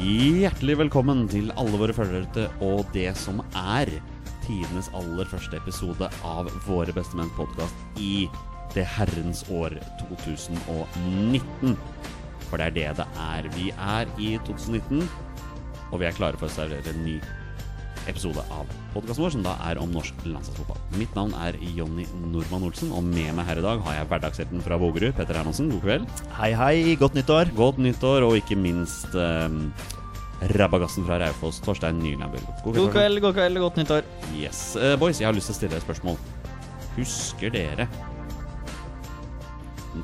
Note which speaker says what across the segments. Speaker 1: hjertelig velkommen til alle våre følgere til- og det som er tidenes aller første episode av Våre bestemenns podkast i det herrens år 2019. For det er det det er. Vi er i 2019, og vi er klare for å servere en ny episode av podkasten vår, som da er om norsk landslagsfotball. Mitt navn er Jonny Normann Olsen, og med meg her i dag har jeg hverdagshelten fra Bogerud, Petter Hermansen. God kveld.
Speaker 2: Hei, hei. Godt nyttår.
Speaker 1: Godt nyttår, og ikke minst eh, rabagassen fra Raufoss, Torstein Nyland Børgo.
Speaker 2: God kveld, god kveld, godt nyttår.
Speaker 1: Torstein. Yes. Eh, boys, jeg har lyst til å stille dere et spørsmål. Husker dere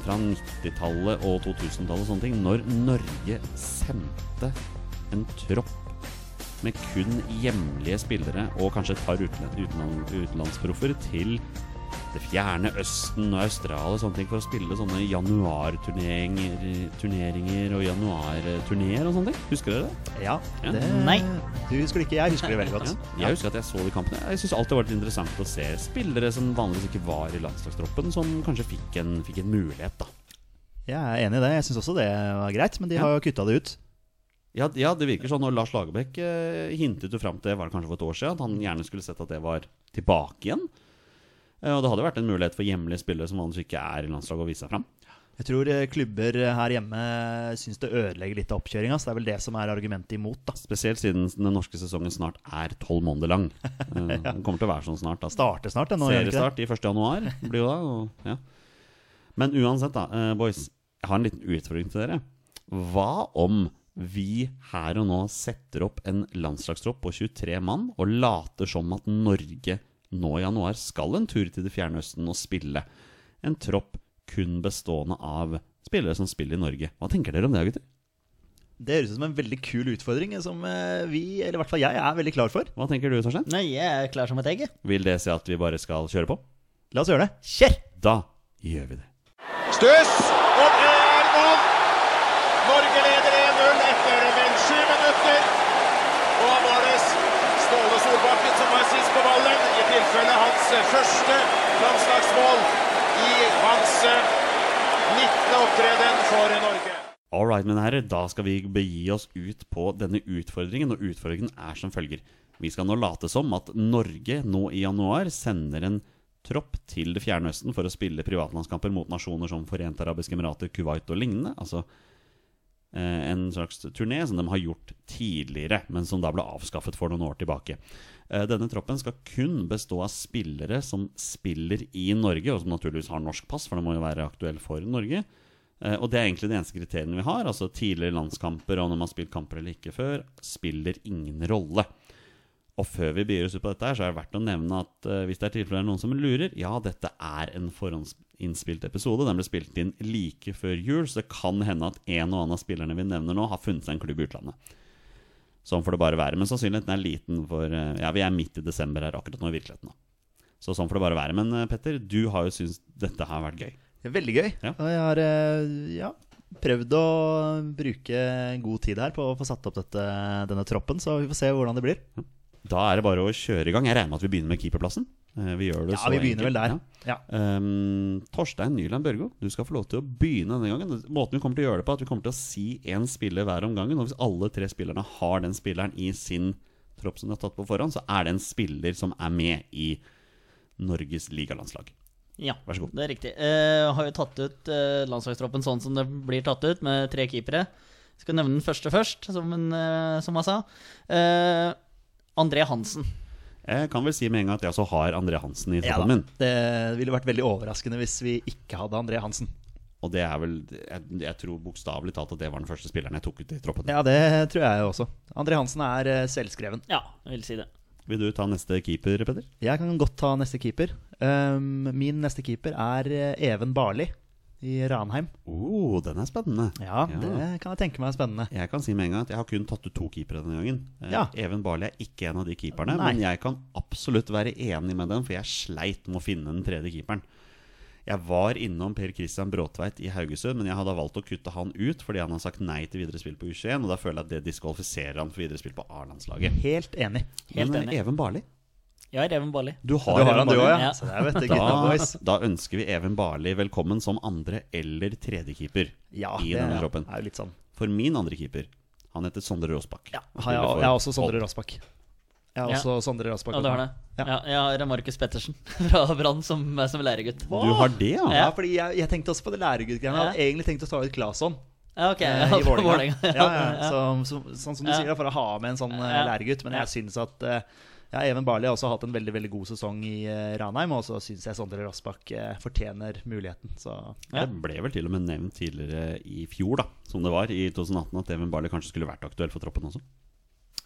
Speaker 1: fra 90-tallet og 2000-tallet og sånne ting, når Norge sendte en tropp med kun hjemlige spillere og kanskje et par utenland, utenland, utenlandsproffer til det fjerne Østen og Australia og sånne ting for å spille sånne januarturneringer turneringer og januarturneer og sånne ting. Husker dere det?
Speaker 2: Ja.
Speaker 1: Ja.
Speaker 2: Det,
Speaker 3: Nei.
Speaker 2: Du husker det ikke, jeg husker det veldig godt.
Speaker 1: Ja. Jeg husker at jeg så de kampene. Jeg syns alltid det har vært interessant å se spillere som vanligvis ikke var i landslagstroppen, som kanskje fikk en, fikk en mulighet, da.
Speaker 2: Jeg er enig i det. Jeg syns også det var greit, men de
Speaker 1: Ja.
Speaker 2: har jo kutta det ut.
Speaker 1: Ja, ja, det virker sånn. Og Lars Lagerbäck eh, hintet jo fram til var det kanskje for et år siden at han gjerne skulle sett at det var tilbake igjen. Eh, og det hadde vært en mulighet for hjemlige spillere som vanligvis ikke er i landslaget, å vise seg fram.
Speaker 2: Jeg tror eh, klubber her hjemme syns det ødelegger litt av oppkjøringa, så det er vel det som er argumentet imot, da.
Speaker 1: Spesielt siden den norske sesongen snart er tolv måneder lang. Eh, Den kommer til å være sånn snart. Da.
Speaker 2: Starter snart, det nå. gjør det ikke det?
Speaker 1: Seriestart i 1. januar blir jo da. Og, ja. Men uansett, da, eh, boys. Jeg har en liten utfordring til dere. Hva om vi her og nå setter opp en landslagstropp på 23 mann og later som at Norge nå i januar skal en tur til det fjerne østen og spille en tropp kun bestående av spillere som spiller i Norge? Hva tenker dere om det, gutter?
Speaker 2: Det høres ut som en veldig kul utfordring eh, som eh, vi, eller i hvert fall jeg, er veldig klar for.
Speaker 1: Hva tenker du, Torstein?
Speaker 3: Nei, jeg er klar som et egg. jeg.
Speaker 1: Vil det si at vi bare skal kjøre på?
Speaker 2: La oss gjøre det.
Speaker 3: Kjør!
Speaker 1: Da gjør vi det.
Speaker 4: Stuss! Og det er mål! Norge leder 1-0 etter vel sju minutter. Og da var det Ståle Solbakken som var sist på ballen, i tilfelle hans eh, første landslagsmål i hans eh, 19. opptreden for Norge.
Speaker 1: All right, mine herrer, da skal vi begi oss ut på denne utfordringen, og utfordringen er som følger. Vi skal nå late som at Norge nå i januar sender en tropp til det fjerne østen for å spille privatlandskamper mot nasjoner som Forente arabiske emirater, Kuwait og lignende. Altså eh, en slags turné som de har gjort tidligere, men som da ble avskaffet for noen år tilbake. Eh, Denne troppen skal kun bestå av spillere som spiller i Norge, og som naturligvis har norsk pass, for det må jo være aktuell for Norge. Eh, Og det er egentlig de eneste kriteriene vi har. Altså tidligere landskamper og når man har spilt kamper eller ikke før, spiller ingen rolle. Og før vi begir oss ut på dette, her, så er det verdt å nevne at eh, hvis det er tilfelle det er noen som lurer, ja, dette er en forhåndsinnspilt episode. Den ble spilt inn like før jul, så det kan hende at en og annen av spillerne vi nevner nå, har funnet seg en klubb i utlandet. Sånn får det bare være. Men sannsynligheten er liten, for eh, ja, vi er midt i desember her akkurat nå i virkeligheten. Da. Så sånn får det bare være. Men eh, Petter, du har jo syntes dette har vært gøy.
Speaker 2: Det er Veldig gøy.
Speaker 1: Ja.
Speaker 2: Og jeg har eh, ja, prøvd å bruke god tid her på å få satt opp dette, denne troppen, så vi får se hvordan det blir.
Speaker 1: Da er det bare å kjøre i gang. Jeg regner med at vi begynner med keeperplassen. Eh, Vi gjør det
Speaker 2: Ja,
Speaker 1: så
Speaker 2: vi
Speaker 1: enkelt.
Speaker 2: begynner vel der. Ja.
Speaker 1: Ja. Ehm, Torstein Nyland Børgo, du skal få lov til å begynne denne gangen. Måten vi kommer til å gjøre det på, er at vi kommer til å si én spiller hver om gangen. Og hvis alle tre spillerne har den spilleren i sin tropp som de har tatt på forhånd, så er det en spiller som er med i Norges ligalandslag.
Speaker 3: Ja,
Speaker 1: Vær så god.
Speaker 3: det er riktig. Eh, har jo tatt ut eh, landslagstroppen sånn som det blir tatt ut, med tre keepere. Skal nevne den første først, som, en, eh, som jeg sa. Eh, André Hansen.
Speaker 1: Jeg kan vel si med en gang at jeg også har André Hansen i
Speaker 2: Ja
Speaker 1: troppen
Speaker 2: da.
Speaker 1: min.
Speaker 2: Det ville vært veldig overraskende hvis vi ikke hadde André Hansen.
Speaker 1: Og det er vel Jeg, jeg tror bokstavelig talt at det var den første spilleren jeg tok ut i troppen.
Speaker 2: Ja, det tror jeg jo også. André Hansen er eh, selvskreven.
Speaker 3: Ja, jeg vil si det.
Speaker 1: Vil du ta neste keeper, Petter?
Speaker 2: Jeg kan godt ta neste keeper. Um, min neste keeper er eh, Even Barli i Ranheim.
Speaker 1: Oh, den er spennende.
Speaker 2: Ja,
Speaker 1: Ja.
Speaker 2: det kan jeg tenke meg er spennende.
Speaker 1: Jeg kan si med en gang at jeg har kun tatt ut to keepere denne gangen. Eh,
Speaker 2: Ja.
Speaker 1: Even Barli er ikke en av de keeperne,
Speaker 2: Nei.
Speaker 1: men jeg kan absolutt være enig med den, for jeg sleit med å finne den tredje keeperen. Jeg var innom Per Christian Bråtveit i Haugesund, men jeg hadde valgt å kutte han ut fordi han har sagt nei til videre spill på U21, og da føler jeg at det diskvalifiserer han for videre spill på A-landslaget.
Speaker 2: Helt enig.
Speaker 3: Helt
Speaker 1: Men eh,
Speaker 3: enig.
Speaker 1: Even Barli,
Speaker 3: Ja, Reven Barli.
Speaker 1: du har,
Speaker 2: Du har
Speaker 1: Even
Speaker 2: han, du
Speaker 1: Barli.
Speaker 2: òg, ja.
Speaker 3: Ja.
Speaker 2: Så der vet du, gutta
Speaker 1: Da,
Speaker 2: boys.
Speaker 1: da ønsker vi Even Barli velkommen som andre- eller tredjekeeper
Speaker 2: Ja,
Speaker 1: i
Speaker 2: det
Speaker 1: denne
Speaker 2: er
Speaker 1: troppen.
Speaker 2: jo litt sånn.
Speaker 1: For min andre keeper, Han heter Sondre Råsbakk.
Speaker 3: Ja,
Speaker 2: Har jeg, jeg har også Sondre Rassbakk. Jeg har
Speaker 3: Ja.
Speaker 2: også Sondre Rassbakk.
Speaker 3: Ja, du har det.
Speaker 2: Ja.
Speaker 3: Ja. jeg har Markus Pettersen fra Brann som, som læregutt.
Speaker 1: Du har det, ja?
Speaker 2: Ja, fordi jeg, jeg tenkte også på det læreguttgreiene. Jeg hadde egentlig tenkt å ta ut Claesson
Speaker 3: Ja, ok.
Speaker 2: eh,
Speaker 3: ja,
Speaker 2: i
Speaker 3: på
Speaker 2: Vålerenga.
Speaker 3: Vålerenga.
Speaker 2: Ja, ja, som- som- sånn som du
Speaker 3: Ja.
Speaker 2: sier, da, for å ha med en sånn eh,
Speaker 3: Ja.
Speaker 2: læregutt. Men
Speaker 3: Ja.
Speaker 2: jeg syns at eh, ja, Even Barli har også hatt en veldig veldig god sesong i eh, Ranheim, og så syns jeg Sondre Rassbakk eh, fortjener muligheten. Så
Speaker 3: Ja.
Speaker 1: Det ble vel til og med nevnt tidligere i fjor, da, som det var, i 2018, at Even Barley kanskje skulle vært aktuell for troppen også.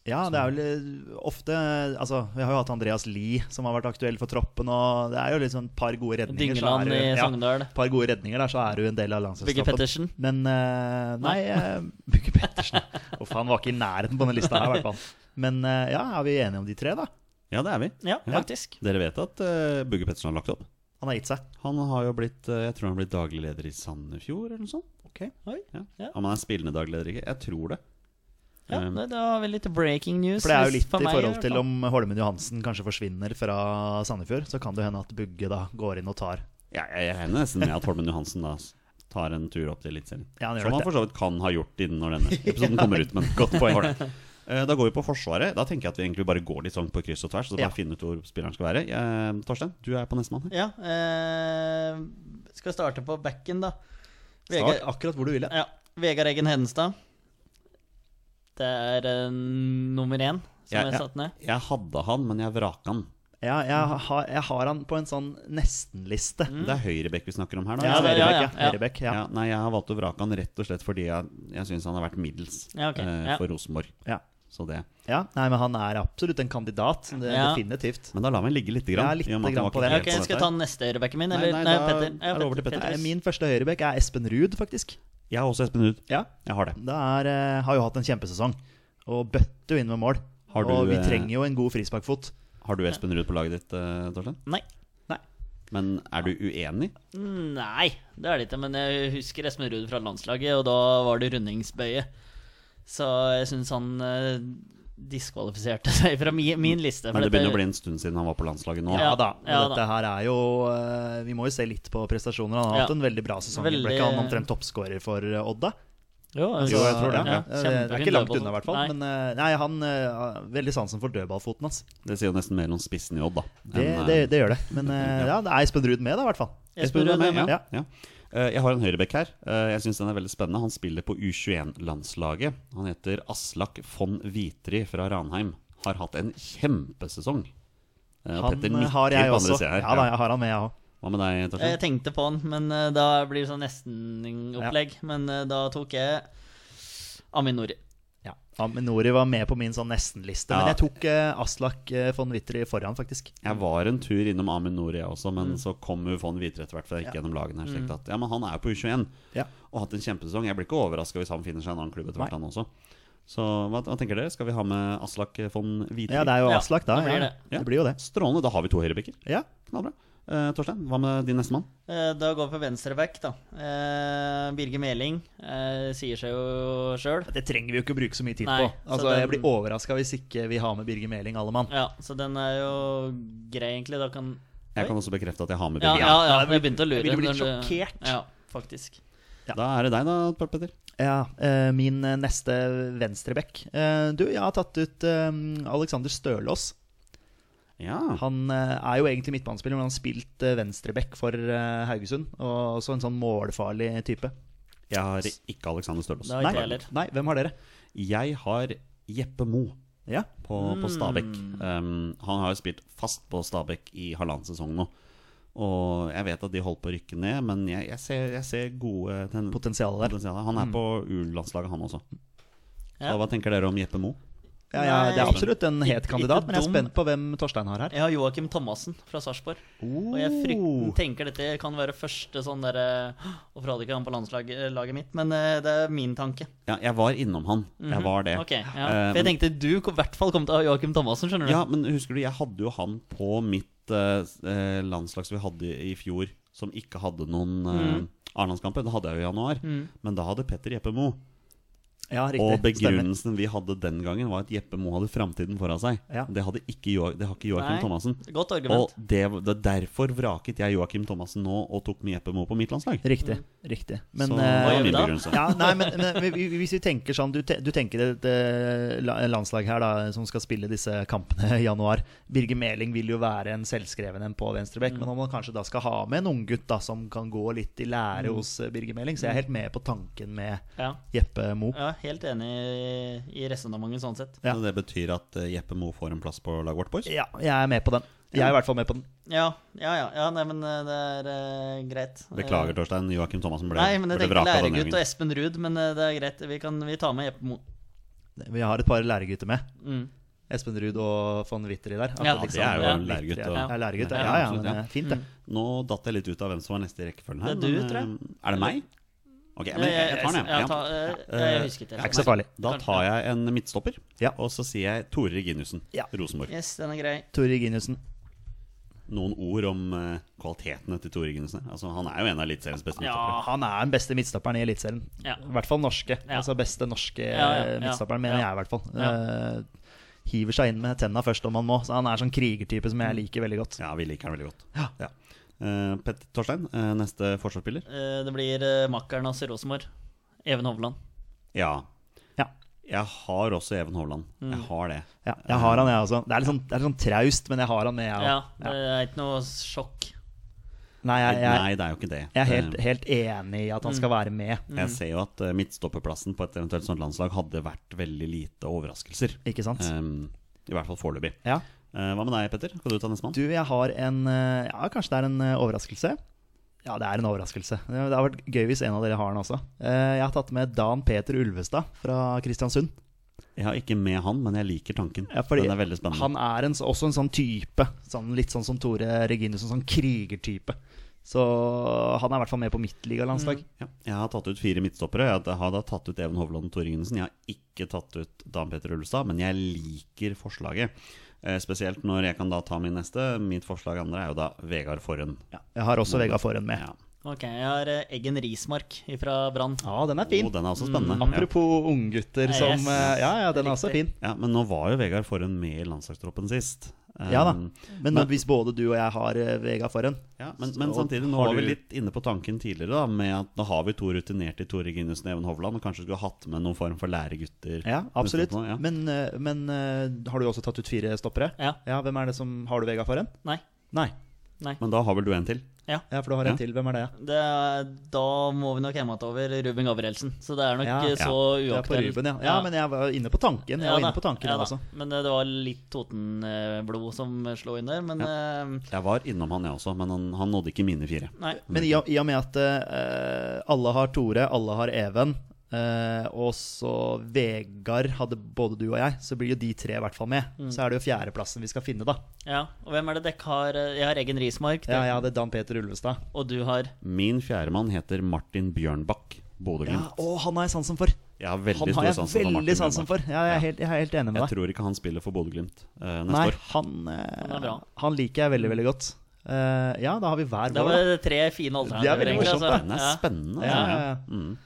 Speaker 2: Ja, det er vel eh, ofte Altså, vi har jo hatt Andreas Lie, som har vært aktuell for troppen, og det er jo liksom et par gode redninger. så er
Speaker 3: Dyngeland
Speaker 2: du-
Speaker 3: i
Speaker 2: ja,
Speaker 3: Sogndal.
Speaker 2: par gode redninger der, så er du en del av
Speaker 3: Bygge
Speaker 2: landslagstroppen.
Speaker 3: Pettersen.
Speaker 2: Men eh, nei, eh, Bugge Pettersen Å faen, var ikke i nærheten på denne lista her, i hvert fall. Men eh, ja, er vi enige om de tre, da?
Speaker 1: Ja, det er vi.
Speaker 3: Ja, faktisk.
Speaker 1: Dere vet at eh, Bugge Pettersen har lagt opp?
Speaker 2: Han har gitt seg.
Speaker 1: Han har jo blitt eh, Jeg tror han har blitt daglig leder i Sandefjord, eller noe sånt.
Speaker 3: Oi.
Speaker 1: Ja.
Speaker 3: Ja.
Speaker 1: Om han er spillende daglig leder, ikke? Jeg tror det.
Speaker 3: Ja,
Speaker 1: Um,
Speaker 3: det, det var vel litt breaking news.
Speaker 2: For det er jo
Speaker 3: hvis-
Speaker 2: litt
Speaker 3: for
Speaker 2: i
Speaker 3: meg
Speaker 2: forhold
Speaker 3: hvert
Speaker 2: til
Speaker 3: fall.
Speaker 2: om Holmen Johansen kanskje forsvinner fra Sandefjord. Så kan det hende at Bugge da går inn og tar
Speaker 1: Ja, jeg jeg regner nesten med at Holmen Johansen da s- tar en tur opp til Eliteserien.
Speaker 2: Ja, han gjør
Speaker 1: Som
Speaker 2: nok
Speaker 1: han
Speaker 2: det.
Speaker 1: for så vidt kan ha gjort innen når denne episoden kommer ut. Men godt poeng. Eh, Da går vi på Forsvaret. Da tenker jeg at vi egentlig bare går litt sånn på kryss og tvers. Så bare
Speaker 2: Ja.
Speaker 1: finne ut hvor spilleren skal være. Eh, Torstein, du er på nestemann. her.
Speaker 3: Ja. Eh, skal jeg starte på backen, da?
Speaker 2: Start
Speaker 3: Vegard-
Speaker 2: akkurat hvor du ville.
Speaker 3: ja, Vegard Eggen Hedenstad. Det er eh, nummer én som
Speaker 1: Ja,
Speaker 3: jeg
Speaker 1: ja.
Speaker 3: satte ned.
Speaker 1: Jeg hadde han, men jeg vraka han.
Speaker 2: Ja, jeg har, jeg har han på en sånn nesten-liste.
Speaker 1: Det er høyrebekk vi snakker om her nå.
Speaker 2: Ja,
Speaker 1: Jeg-
Speaker 3: det er- ja, ja,
Speaker 2: Høyrebekk, ja.
Speaker 3: ja.
Speaker 2: Høyrebekk,
Speaker 1: ja.
Speaker 2: ja.
Speaker 1: nei, jeg har valgt å vrake han rett og slett fordi jeg, jeg syns han har vært middels
Speaker 3: Ja, ok,
Speaker 1: eh,
Speaker 3: ja.
Speaker 1: for Rosenborg.
Speaker 2: Ja.
Speaker 1: Så det.
Speaker 2: Ja, nei, men han er absolutt en kandidat. Det,
Speaker 3: Ja.
Speaker 2: Definitivt.
Speaker 1: Men da lar vi han ligge lite grann.
Speaker 2: Ja, lite
Speaker 1: i og med at han
Speaker 2: grann
Speaker 1: var ikke
Speaker 2: på det.
Speaker 1: helt
Speaker 3: Ok, Skal jeg
Speaker 1: dette
Speaker 3: ta
Speaker 1: her.
Speaker 3: neste høyrebacken min?
Speaker 1: Nei,
Speaker 3: Eller?
Speaker 1: nei,
Speaker 3: Nei,
Speaker 1: da
Speaker 3: Petter.
Speaker 1: er det over til Petter.
Speaker 2: Nei,
Speaker 3: Petter.
Speaker 2: Min første høyrebekk er Espen Ruud, faktisk.
Speaker 1: Jeg har også Espen Ruud.
Speaker 2: Ja,
Speaker 1: Jeg har det.
Speaker 2: Det er, eh, har jo hatt en kjempesesong. Og bøtte jo inn med mål.
Speaker 1: Har du,
Speaker 2: og vi
Speaker 1: eh,
Speaker 2: trenger jo en god frisparkfot.
Speaker 1: Har du Espen Ruud på laget ditt, eh, Torstein?
Speaker 3: Nei.
Speaker 1: Men er du uenig?
Speaker 3: Nei, det er det ikke. Men jeg husker Espen Ruud fra landslaget, og da var det rundingsbøye. Så jeg syns han eh, diskvalifiserte seg fra mi, min liste. for
Speaker 1: Men det
Speaker 3: dette-
Speaker 1: begynner å bli en stund siden han var på landslaget nå.
Speaker 2: Ja, da. men
Speaker 3: ja da.
Speaker 2: Dette her er jo eh, Vi må jo se litt på prestasjoner. Han har
Speaker 3: Ja.
Speaker 2: hatt en veldig bra sesong.
Speaker 3: Veldig-
Speaker 2: Ble ikke han omtrent toppskårer for eh, Odd, da?
Speaker 3: jo, altså,
Speaker 2: Jo, jeg tror det.
Speaker 3: ja,
Speaker 2: Ja. Det
Speaker 3: kjempefin
Speaker 2: er ikke langt
Speaker 3: dødball.
Speaker 2: unna, i hvert fall.
Speaker 3: Nei.
Speaker 2: Men eh, nei, han eh, har veldig sansen for dødballfoten hans.
Speaker 1: Det sier jo nesten mer om spissen i Odd, da.
Speaker 2: Det,
Speaker 1: enn, eh,
Speaker 2: det, det gjør det. Men eh, ja, det er Espen Ruud med, da, i hvert fall.
Speaker 3: Espen Ruud er med.
Speaker 1: Ja. ja. Eh, Jeg har en høyrebekk her. Eh, Jeg syns den er veldig spennende. Han spiller på U21-landslaget. Han heter Aslak von Vitri fra Ranheim. Har hatt en kjempesesong. Eh, og Petter
Speaker 2: Han eh,
Speaker 1: nikker
Speaker 2: har jeg
Speaker 1: på andre
Speaker 2: også.
Speaker 1: sida her.
Speaker 2: Ja da, jeg har han med, jeg òg.
Speaker 1: Hva med deg,
Speaker 3: Jeg
Speaker 1: Torstein?
Speaker 3: tenkte på han, men eh, da blir det sånn nesten-opplegg. Men eh, da tok jeg Amin Nori.
Speaker 2: Ja. Aminori var med på min sånn nesten-liste,
Speaker 1: Ja.
Speaker 2: men jeg tok eh, Aslak eh, von Wittry foran, faktisk.
Speaker 1: Jeg var en tur innom Amin Nouri jeg også,
Speaker 2: Mm.
Speaker 1: men så kom jo von Vitri etter hvert. For jeg gikk gjennom lagene her så tenkte jeg at ja, men han er jo på U21
Speaker 2: Ja.
Speaker 1: og har hatt en kjempesesong. Jeg blir ikke overraska hvis han finner seg en annen klubb etter hvert, han også. Så hva, hva tenker dere? Skal vi ha med Aslak von Vitri?
Speaker 2: Ja, det er jo
Speaker 3: Ja,
Speaker 2: Aslak, da.
Speaker 3: det blir
Speaker 2: ja.
Speaker 3: det.
Speaker 1: Ja.
Speaker 2: det blir jo det.
Speaker 1: Strålende. Da har vi to høyrebekker.
Speaker 2: Ja.
Speaker 1: Knallbra. Eh, Torstein, hva med din nestemann?
Speaker 3: Eh, Da går vi på venstreback, da. Eh, Birger Meling eh, sier seg jo sjøl.
Speaker 2: Det trenger vi jo ikke å bruke så mye tid
Speaker 3: Nei,
Speaker 2: på.
Speaker 3: så
Speaker 2: Altså, Jeg
Speaker 3: den-
Speaker 2: blir overraska hvis ikke vi har med Birger Meling, alle mann.
Speaker 3: Ja, så den er jo grei, egentlig. Da kan
Speaker 1: Jeg
Speaker 3: Oi.
Speaker 1: kan også bekrefte at jeg har med
Speaker 3: Ja,
Speaker 1: Birger.
Speaker 3: ja, ja, jeg begynte å lure.
Speaker 2: jeg ville blitt
Speaker 3: når du-
Speaker 2: sjokkert.
Speaker 3: Ja, faktisk.
Speaker 2: ja.
Speaker 1: Da er det deg da, Per Petter.
Speaker 2: Ja, eh, Min eh, neste venstreback eh, Du, jeg har tatt ut eh, Alexander Stølås.
Speaker 1: Ja.
Speaker 2: Han eh, er jo egentlig midtbanespiller, men han har spilt eh, venstreback for eh, Haugesund. Og også en sånn målfarlig type.
Speaker 1: Jeg har ikke Alexander Stølås.
Speaker 3: Da har
Speaker 2: Nei,
Speaker 3: ikke jeg heller.
Speaker 2: nei, hvem har dere?
Speaker 1: Jeg har Jeppe Mo
Speaker 2: Ja,
Speaker 1: på, på Stabæk.
Speaker 3: Mm.
Speaker 1: Um, han har jo spilt fast på Stabæk i halvannen sesong nå. Og jeg vet at de holdt på å rykke ned, men jeg, jeg, ser, jeg ser gode ten
Speaker 2: Potensialet der.
Speaker 1: potensialer. Han er på U-landslaget, han også.
Speaker 3: Mm. Ja.
Speaker 1: Så hva tenker dere om Jeppe Mo?
Speaker 2: Ja, ja, det er
Speaker 3: Nei,
Speaker 2: absolutt en het
Speaker 3: ikke
Speaker 2: kandidat, men jeg er
Speaker 3: dum.
Speaker 2: spent på hvem Torstein har her.
Speaker 3: Jeg har Joakim Thomassen fra Sarpsborg. Og jeg frykten tenker dette kan være første sånn derre Hvorfor hadde ikke han på landslaget laget mitt? Men eh, det er min tanke.
Speaker 1: Ja, jeg var innom han. Jeg var det.
Speaker 3: Mhm. Ok, ja.
Speaker 1: Eh,
Speaker 3: For jeg
Speaker 1: men-
Speaker 3: tenkte du kom- i hvert fall kom til å ha Joakim Thomassen, skjønner du.
Speaker 1: Ja, men husker du, jeg hadde jo han på mitt eh, s- eh, landslag som vi hadde i, i fjor, som ikke hadde noen eh, A-landskamper. Det hadde jeg jo i januar. Men da hadde Petter Jeppe Mo
Speaker 2: Ja, riktig.
Speaker 1: Og
Speaker 2: Stemmer.
Speaker 1: begrunnelsen vi hadde den gangen, var at Jeppe Moe hadde framtiden foran seg.
Speaker 2: Ja.
Speaker 1: Det, hadde ikke, Jo- det har ikke Joakim
Speaker 3: Nei,
Speaker 1: Thomassen.
Speaker 3: Godt
Speaker 1: Og
Speaker 3: argument.
Speaker 1: det, det derfor vraket jeg Joakim Thomassen nå og tok med Jeppe Moe på mitt landslag.
Speaker 2: Riktig. riktig. Men,
Speaker 1: Så det
Speaker 2: eh,
Speaker 1: var
Speaker 3: gjør vi
Speaker 1: min
Speaker 3: da?
Speaker 1: begrunnelse.
Speaker 2: ja, nei, men, men vi- vi- hvis vi tenker sånn Du, te, du tenker et eh, la- landslag her da som skal spille disse kampene i januar. Birger Meling vil jo være en selvskreven en på venstrebekk, men om man kanskje da skal ha med en unggutt som kan gå litt i lære
Speaker 1: Mm.
Speaker 2: hos eh, Birger Meling, så jeg er helt med på tanken med
Speaker 3: Ja.
Speaker 2: Jeppe Mo.
Speaker 3: Ja, helt enig i- i resonnementet sånn sett.
Speaker 2: Ja.
Speaker 1: Så det betyr at eh, Jeppe Moe får en plass på laget vårt, boys?
Speaker 2: Ja, jeg er med på den. Jeg er i hvert fall med på den.
Speaker 3: Ja, ja, ja. ja nei, men eh, det er eh, greit.
Speaker 1: Beklager,
Speaker 3: Eh,
Speaker 1: Torstein. Joakim Thomassen ble,
Speaker 3: Nei, men jeg
Speaker 1: ble
Speaker 3: tenkte
Speaker 1: vraka denne
Speaker 3: læregutt og
Speaker 1: gangen.
Speaker 3: Espen Ruud, men eh, det er greit. Vi, kan, vi tar med Jeppe Mo.
Speaker 2: Vi har et par læregutter med.
Speaker 3: Mm.
Speaker 2: Espen Ruud og von Witteri der.
Speaker 3: Ja,
Speaker 2: Atletikk
Speaker 3: det er
Speaker 2: sammen.
Speaker 3: jo
Speaker 1: en læregutt, og-
Speaker 2: Witteri, Ja, læregutt,
Speaker 1: Ja,
Speaker 2: ja, ja,
Speaker 1: absolutt,
Speaker 2: men det
Speaker 1: ja. Mm.
Speaker 2: er fint, det.
Speaker 1: Nå datt jeg litt ut av hvem som var neste i rekkefølgen her.
Speaker 3: Det er du,
Speaker 1: men,
Speaker 3: tror jeg.
Speaker 1: eh, Er det meg? Ok, men jeg, jeg tar den, jeg.
Speaker 3: Jeg,
Speaker 1: Ja.
Speaker 3: tar, eh, jeg husker ikke.
Speaker 2: Det er ikke så farlig.
Speaker 1: Da tar jeg en midtstopper,
Speaker 2: Ja.
Speaker 1: og så sier jeg Tore Reginussen,
Speaker 2: Ja.
Speaker 1: Rosenborg.
Speaker 3: Yes, den er grei.
Speaker 2: Tore Reginiussen.
Speaker 1: Noen ord om eh, kvalitetene til Tore Reginussen. Altså, han er jo en av eliteseriens beste midtstoppere.
Speaker 2: Ja, han er den beste midtstopperen i Eliteserien.
Speaker 3: Ja.
Speaker 2: I hvert fall norske.
Speaker 3: Ja.
Speaker 2: Altså beste norske
Speaker 3: Ja, ja,
Speaker 2: eh,
Speaker 3: ja.
Speaker 2: midtstopperen, mener
Speaker 3: Ja.
Speaker 2: jeg i hvert fall.
Speaker 3: Ja.
Speaker 2: Eh, hiver seg inn med tenna først om han må. Så han er sånn krigertype som
Speaker 3: Mm.
Speaker 2: jeg liker veldig godt.
Speaker 1: Ja, vi liker han veldig godt. Ja. Eh, Petter Torstein, eh, neste forsvarsspiller?
Speaker 3: Eh, Det blir eh, makkeren hans i Rosenborg. Even Hovland.
Speaker 1: Ja.
Speaker 2: Ja.
Speaker 1: Jeg har også Even Hovland.
Speaker 3: Mm.
Speaker 1: Jeg har det.
Speaker 2: Ja, jeg har han, jeg også. Det er litt sånn, det er litt sånn traust, men jeg har han med, jeg
Speaker 3: Ja,
Speaker 2: også.
Speaker 3: det er ikke noe sjokk.
Speaker 2: Nei, jeg, jeg,
Speaker 1: Nei, det er jo ikke det.
Speaker 2: jeg er helt,
Speaker 1: Eh,
Speaker 2: helt enig i
Speaker 3: Mm.
Speaker 2: at han skal være med,
Speaker 1: Jeg ser jo at eh, midtstopperplassen på et eventuelt sånt landslag hadde vært veldig lite overraskelser.
Speaker 2: ikke sant?
Speaker 1: Um, I hvert fall foreløpig.
Speaker 2: Ja.
Speaker 1: Eh, hva med deg, Petter? Skal du ta nestemann?
Speaker 2: Du, jeg har en eh, Ja, kanskje det er en eh, overraskelse? Ja, det er en overraskelse. Det det hadde vært gøy hvis en av dere har den også. Eh, Jeg har tatt med Dan Peter Ulvestad fra Kristiansund.
Speaker 1: Jeg har ikke med han, men jeg liker tanken.
Speaker 2: Ja, fordi
Speaker 1: Den er veldig spennende.
Speaker 2: Han er en, s- også en sånn type. Sånn, litt sånn som Tore Reginussen, sånn krigertype. Så han er i hvert fall med på mitt ligalandslag.
Speaker 1: Ja, jeg har tatt ut fire midtstoppere. Jeg har da tatt ut Even Hovland og Tor Ingensen. Jeg har ikke tatt ut Dan Petter Ulstad, men jeg liker forslaget. Eh, spesielt når jeg kan da ta min neste. Mitt forslag andre er jo da Vegard Forhen.
Speaker 2: Ja, jeg har også Vegard Forhen med.
Speaker 1: Ja.
Speaker 3: Ok, jeg har eh, Eggen Rismark fra Brann.
Speaker 2: Ja, den er
Speaker 1: Og
Speaker 2: fin.
Speaker 1: den er også spennende. ja.
Speaker 2: Mm, Apropos unggutter
Speaker 3: Yes.
Speaker 2: som eh, Ja, ja, den er også
Speaker 3: Riktig.
Speaker 2: fin.
Speaker 1: ja, Men nå var jo Vegard Forhen med i landslagstroppen sist. Eh,
Speaker 2: Ja da. Men, hvis både du og jeg har eh, Vegard Forhen
Speaker 1: Ja, men, men
Speaker 2: Så
Speaker 1: samtidig, nå
Speaker 2: har
Speaker 1: var vi
Speaker 2: du-
Speaker 1: litt inne på tanken tidligere, da, med at da har vi to rutinerte i Tore Ginussen og Even Hovland, og kanskje skulle hatt med noen form for læregutter.
Speaker 2: Ja, absolutt.
Speaker 1: Ja.
Speaker 2: Men, eh, men eh, har du også tatt ut fire stoppere?
Speaker 3: Ja.
Speaker 2: Hvem er det som Har du Vegard Forhen?
Speaker 3: Nei.
Speaker 2: Nei.
Speaker 1: Men da har vel du en til?
Speaker 2: Ja, for du har en
Speaker 1: Ja.
Speaker 2: til. Hvem er det?
Speaker 3: Det er, da må vi nok hemme over Ruben Gabrielsen. Så det er nok
Speaker 2: Ja.
Speaker 3: eh, så
Speaker 2: Det er på
Speaker 3: uaktuelt.
Speaker 2: Ruben, ja. ja. Men jeg var inne på tanken. Jeg
Speaker 3: Ja
Speaker 2: var
Speaker 3: da,
Speaker 2: inne på tanken
Speaker 3: ja da.
Speaker 2: altså.
Speaker 3: Men eh, det var litt Toten-blod som slo inn der. Men eh,
Speaker 1: Jeg var innom han, jeg også, men han, han nådde ikke mine fire.
Speaker 3: nei.
Speaker 2: Men i og, i og med at eh, alle har Tore, alle har Even, eh, og så Vegard hadde både du og jeg, så blir jo de tre i hvert fall med.
Speaker 3: Mm.
Speaker 2: Så er det jo fjerdeplassen vi skal finne, da.
Speaker 3: Ja. Og hvem er det dere har? eh, Jeg har Eggen Rismark,
Speaker 2: Ja,
Speaker 3: det-
Speaker 2: jeg hadde Dan Peter Ulvestad.
Speaker 3: og du har
Speaker 1: Min fjerdemann heter Martin Bjørnbakk,
Speaker 2: Ja,
Speaker 1: Bodø-Glimt.
Speaker 2: og han har jeg sansen for!
Speaker 1: Jeg har veldig
Speaker 2: Han har
Speaker 1: stor
Speaker 2: jeg
Speaker 1: sans for Martin
Speaker 2: veldig sansen
Speaker 1: Bjørnbakk.
Speaker 2: for. Ja, jeg, er helt, jeg er helt enig med
Speaker 1: Jeg
Speaker 2: deg.
Speaker 1: tror ikke han spiller for Bodø-Glimt eh, neste
Speaker 2: Nei,
Speaker 1: år.
Speaker 2: han,
Speaker 3: Han er
Speaker 2: eh,
Speaker 3: bra.
Speaker 2: han liker jeg veldig, veldig godt. Eh, ja, da har vi hver
Speaker 3: Det
Speaker 2: vår.
Speaker 3: var tre fine
Speaker 2: Det er
Speaker 3: alternativer.
Speaker 2: veldig
Speaker 3: egentlig,
Speaker 2: morsomt,
Speaker 3: altså.
Speaker 1: Den er
Speaker 3: Ja.
Speaker 1: spennende.
Speaker 2: da. Ja, ja, ja.
Speaker 1: Mm.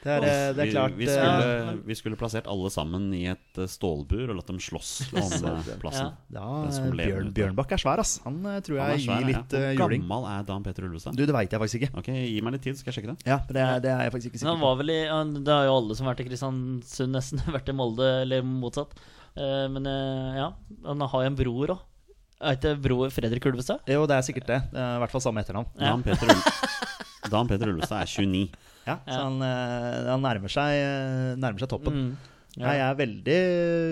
Speaker 2: Det er, eh, det er klart
Speaker 1: vi, vi,
Speaker 2: eh,
Speaker 1: skulle, vi skulle plassert alle sammen i et eh, stålbur og latt dem slåss om eh, plassen.
Speaker 3: Ja.
Speaker 2: Ja,
Speaker 1: Den som lever
Speaker 2: eh, Bjørn,
Speaker 1: ut der.
Speaker 2: Bjørnbakk er svær, ass. Han eh, tror
Speaker 1: Han er
Speaker 2: jeg
Speaker 1: svær,
Speaker 2: gir
Speaker 1: ja.
Speaker 2: litt eh,
Speaker 1: Hvor
Speaker 2: juling.
Speaker 1: gammel er Dan Petter Ulvestad?
Speaker 2: Du, det veit jeg faktisk ikke.
Speaker 1: Ok, Gi meg litt tid, skal jeg sjekke det.
Speaker 2: Ja, det er, det er jeg faktisk ikke
Speaker 3: Men han
Speaker 2: sikker på.
Speaker 3: var vel i, han, det har jo alle som har vært i Kristiansund, nesten vært i Molde, eller motsatt. Eh, men eh, ja, han har jo en bror òg. Er ikke bror Fredrik Ulvestad?
Speaker 2: Jo, det er sikkert det. Det er I hvert fall samme etternavn.
Speaker 1: Dan Petter, Ul- Dan Peter Ulvestad er 29.
Speaker 2: Ja, så han, eh, han nærmer, seg, eh, nærmer seg toppen.
Speaker 3: Mm, Ja.
Speaker 2: Ja, jeg er veldig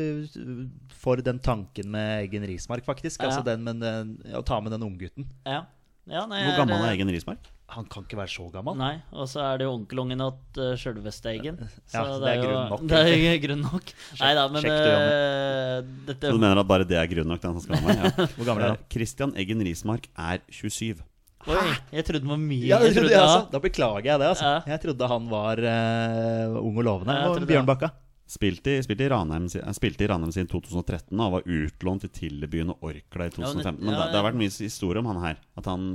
Speaker 2: eh, for den tanken med Eggen Rismark, faktisk.
Speaker 3: Ja.
Speaker 2: Altså den med den, å ta med den unggutten.
Speaker 3: Ja. ja nei,
Speaker 1: Hvor gammel er
Speaker 3: det-
Speaker 1: Egen Rismark?
Speaker 2: Han kan ikke være så gammel.
Speaker 3: Nei, og så er det jo onkelungen at uh, sjølveste Eggen.
Speaker 2: Ja,
Speaker 3: Så
Speaker 2: det er
Speaker 3: jo-
Speaker 2: grunn nok,
Speaker 3: Det er grunn nok. Nei da, men
Speaker 2: sjekk Sånn, du,
Speaker 3: eh,
Speaker 1: Du
Speaker 3: dette
Speaker 1: mener at bare det er grunn nok? til at han skal være med?
Speaker 2: Hvor gammel
Speaker 1: Ja.
Speaker 2: er
Speaker 1: Eh,
Speaker 2: han?
Speaker 1: Christian Eggen Rismark er 27.
Speaker 3: Oi, jeg trodde den var mye.
Speaker 2: Ja, det trodde jeg
Speaker 3: ja.
Speaker 2: også. Da beklager jeg det. altså
Speaker 3: Ja.
Speaker 2: Jeg trodde han var eh, ung og lovende.
Speaker 3: Ja, jeg
Speaker 2: Og
Speaker 3: trodde det.
Speaker 2: Bjørnbakka.
Speaker 1: Spilte i, spilte i Ranheim, si- eh, spilte i Ranheim siden 2013 og var utlånt til Tillebyen og Orkla i 2015. Men
Speaker 3: ja,
Speaker 1: det, det har
Speaker 3: ja.
Speaker 1: vært mye historie om han her. At han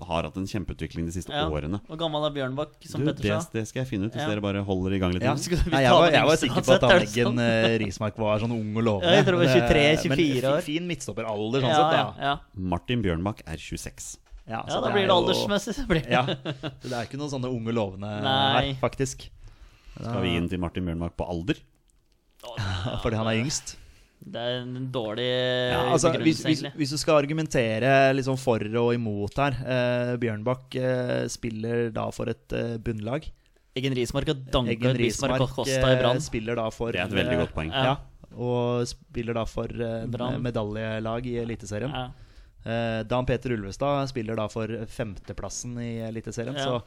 Speaker 1: har hatt en kjempeutvikling de siste
Speaker 3: Ja.
Speaker 1: årene.
Speaker 3: Hvor gammel er Bjørnbakk, som
Speaker 1: Du, det,
Speaker 3: Petter sa?
Speaker 1: det skal jeg finne ut, hvis
Speaker 3: Ja.
Speaker 1: dere bare holder i gang litt.
Speaker 2: Ja.
Speaker 1: nå.
Speaker 3: Skulle vi
Speaker 2: Nei,
Speaker 3: ta
Speaker 2: jeg, var,
Speaker 3: den
Speaker 2: jeg var
Speaker 3: yngste
Speaker 2: sikker på
Speaker 3: uansett,
Speaker 2: at
Speaker 3: er det
Speaker 2: Anleggen
Speaker 3: sånn?
Speaker 2: eh, Rismark var sånn ung og lovende.
Speaker 3: Ja, jeg tror det var
Speaker 2: Men, eh,
Speaker 3: 23-24
Speaker 2: men
Speaker 3: år.
Speaker 2: fi- Fin midtstopperalder, sånn
Speaker 3: Ja, ja,
Speaker 2: sett. da
Speaker 3: ja.
Speaker 1: Martin Bjørnbakk er 26.
Speaker 3: ja,
Speaker 2: Ja, så
Speaker 3: da
Speaker 2: er
Speaker 3: blir det
Speaker 2: jo-
Speaker 3: aldersmessig. så Blir det.
Speaker 2: Ja. Så det er ikke noen sånne unge lovende
Speaker 3: Nei.
Speaker 2: her, faktisk.
Speaker 1: Skal vi inn til Martin Bjørnbakk på alder?
Speaker 2: Fordi han er yngst.
Speaker 3: Det er en dårlig
Speaker 2: Ja, altså,
Speaker 3: begrunnelse,
Speaker 2: hvis, hvis,
Speaker 3: egentlig.
Speaker 2: hvis du skal argumentere liksom for og imot her eh, Bjørnbakk eh, spiller da for et eh, bunnlag.
Speaker 3: Eggen Rismark har danket
Speaker 2: Eggen
Speaker 3: ut Bismarck og
Speaker 2: Rismark
Speaker 3: Costa i
Speaker 2: eh,
Speaker 3: Brann.
Speaker 2: spiller da for
Speaker 1: Det er et veldig
Speaker 2: eh,
Speaker 1: godt poeng.
Speaker 2: Ja. Og spiller da for eh,
Speaker 3: Brann.
Speaker 2: medaljelag i Eliteserien.
Speaker 3: Ja.
Speaker 2: Eh, Dan Peter Ulvestad spiller da for femteplassen i Eliteserien.
Speaker 3: Ja.
Speaker 2: Så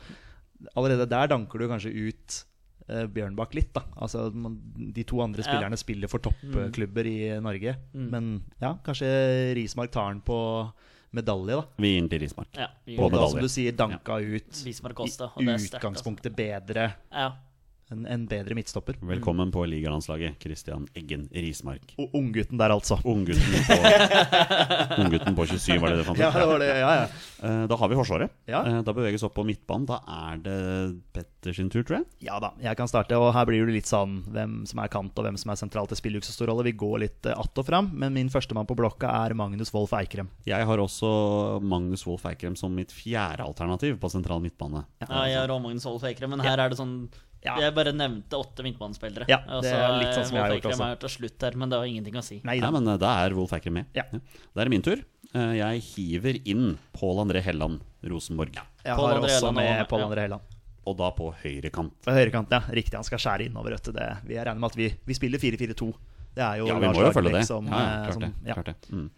Speaker 2: allerede der danker du kanskje ut eh, Bjørnbakk litt, da. Altså man, de to andre
Speaker 3: Ja. Mm.
Speaker 2: spillerne spiller for toppklubber i Norge. Men ja, kanskje Rismark tar den på medalje, da.
Speaker 1: Vi er inn til Rismark.
Speaker 3: Ja, vi
Speaker 1: På
Speaker 2: Og
Speaker 3: gjør det.
Speaker 2: da,
Speaker 1: medalje.
Speaker 2: som du sier, danka ut
Speaker 3: Bismarck Costa. og
Speaker 2: i
Speaker 3: det er sterkt, altså.
Speaker 2: utgangspunktet bedre
Speaker 3: Ja.
Speaker 2: enn en bedre midtstopper.
Speaker 1: Velkommen på ligalandslaget, Christian Eggen Rismark.
Speaker 2: Og unggutten der, altså.
Speaker 1: Unggutten på, unggutten på 27, var det det fant ut?
Speaker 2: Ja, det var det. Ja, ja.
Speaker 1: Eh, Da har vi Forsvaret.
Speaker 2: Ja.
Speaker 1: Eh, Da beveges opp på midtbanen. Da er det Petter sin tur, tror jeg.
Speaker 2: Ja da, jeg kan starte. Og her blir det litt sånn hvem som er kant og hvem som er sentralt. Det spiller jo ikke så stor rolle. Vi går litt eh, att og fram. Men min førstemann på blokka er Magnus Wolff Eikrem.
Speaker 1: Jeg har også Magnus Wolff Eikrem som mitt fjerde alternativ på sentral midtbane.
Speaker 3: ja, jeg har òg Magnus Wolff Eikrem, men her er det sånn
Speaker 2: altså. Ja.
Speaker 3: Jeg bare nevnte åtte midtbanespillere. Altså,
Speaker 2: Ja, det er litt sånn som jeg har gjort
Speaker 3: Wolff Eikrem
Speaker 2: også.
Speaker 3: er til slutt her, men det har ingenting å si.
Speaker 2: Nei
Speaker 1: Nei,
Speaker 2: da.
Speaker 1: men eh, da er Wolff Eikrem med.
Speaker 2: Ja.
Speaker 1: Da er det min tur. Eh, Jeg hiver inn Pål André Helland, Rosenborg.
Speaker 2: Jeg
Speaker 3: Pål
Speaker 2: har
Speaker 3: André
Speaker 2: også
Speaker 3: Helland
Speaker 2: med
Speaker 3: og-
Speaker 2: Pål
Speaker 3: ja.
Speaker 2: André Helland.
Speaker 1: Og da på høyrekant.
Speaker 2: På høyrekanten, ja. Riktig, han skal skjære innover. Vet du. Det, vi regner med at vi, vi spiller 4-4-2. Det er jo
Speaker 1: Ja, vi må
Speaker 2: Lars
Speaker 1: jo
Speaker 2: Lagerbäck
Speaker 1: følge det.
Speaker 2: som,
Speaker 1: ja, ja,
Speaker 2: eh,
Speaker 1: klart
Speaker 2: som-
Speaker 1: det.
Speaker 2: ja.
Speaker 1: Klart det. Mm.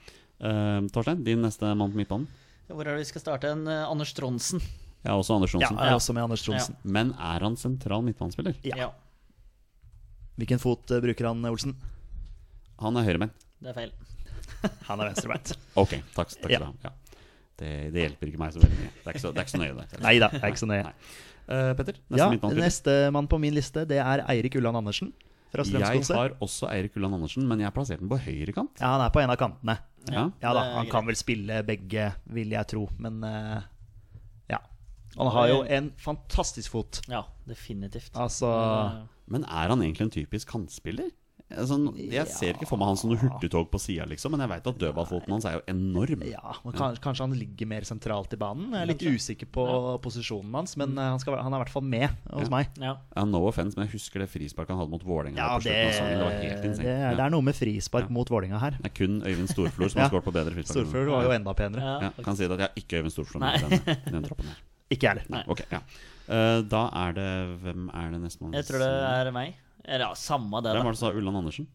Speaker 1: Eh, Torstein, din neste mann på midtbanen.
Speaker 3: Hvor er det vi skal starte? En, eh, Anders Tronsen.
Speaker 1: Jeg har også Anders
Speaker 2: Ja,
Speaker 1: Johnsen.
Speaker 2: jeg er også med Anders Tronsen.
Speaker 1: Men er han sentral midtbanespiller?
Speaker 2: Ja. Hvilken fot eh, bruker han, Olsen?
Speaker 1: Han er høyrebein.
Speaker 3: Det er feil.
Speaker 2: Han er venstrebeint.
Speaker 1: Ok, takk, takk skal du
Speaker 2: Ja.
Speaker 1: ha. Ja. Det, det hjelper ikke meg så veldig mye. Det er ikke så, det er ikke så nøye, det.
Speaker 2: Nei da, det er ikke så nøye.
Speaker 1: Nei. Eh, Petter, neste
Speaker 2: Ja,
Speaker 1: midtbanespiller.
Speaker 2: Nestemann på min liste det er Eirik Ulland Andersen fra
Speaker 1: Jeg
Speaker 2: Strømsgodset.
Speaker 1: har også Eirik Ulland Andersen, men jeg har plassert den på høyrekant.
Speaker 2: Ja, han er på en av kantene.
Speaker 1: Ja.
Speaker 2: Ja da,
Speaker 3: Det er
Speaker 2: han kan vel spille begge, vil jeg tro, men eh, ja. Han har jo en fantastisk fot.
Speaker 3: Ja, definitivt.
Speaker 2: Altså
Speaker 1: Men er han egentlig en typisk kantspiller? Altså, jeg ser ikke for meg han som noe hurtigtog på sida, liksom, men jeg veit at dødballfoten hans er jo enorm.
Speaker 2: ja, man kan, Kanskje han ligger mer sentralt i banen. Jeg er litt usikker på posisjonen hans,
Speaker 1: Mm.
Speaker 2: men eh, han, skal, være- han er i hvert fall med hos
Speaker 1: Ja.
Speaker 2: meg.
Speaker 3: Ja.
Speaker 1: Ja, no offense, men jeg husker det frisparket han hadde mot Vålerenga
Speaker 2: Ja,
Speaker 1: på
Speaker 2: det,
Speaker 1: slutten av sesongen. Det var helt
Speaker 2: det,
Speaker 1: insane.
Speaker 2: er, det
Speaker 1: ja.
Speaker 2: er noe med frispark mot Vålinga her.
Speaker 1: det er kun Øyvind Storflor som har
Speaker 2: Ja.
Speaker 1: skåret på bedre frispark. enn
Speaker 2: Storfjord
Speaker 1: han.
Speaker 2: var jo enda penere.
Speaker 1: ja,
Speaker 3: ja.
Speaker 1: Kan si det at jeg har ikke Øyvind Storflor
Speaker 3: Nei.
Speaker 1: med i den, i den troppen her.
Speaker 2: Ikke jeg heller.
Speaker 1: Nei, ok, ja. Eh, da er det Hvem er det nestemann?
Speaker 3: Jeg tror det er meg. Eller ja, samme det,
Speaker 1: Hvem
Speaker 3: da.
Speaker 1: var det som sa Ulland Andersen?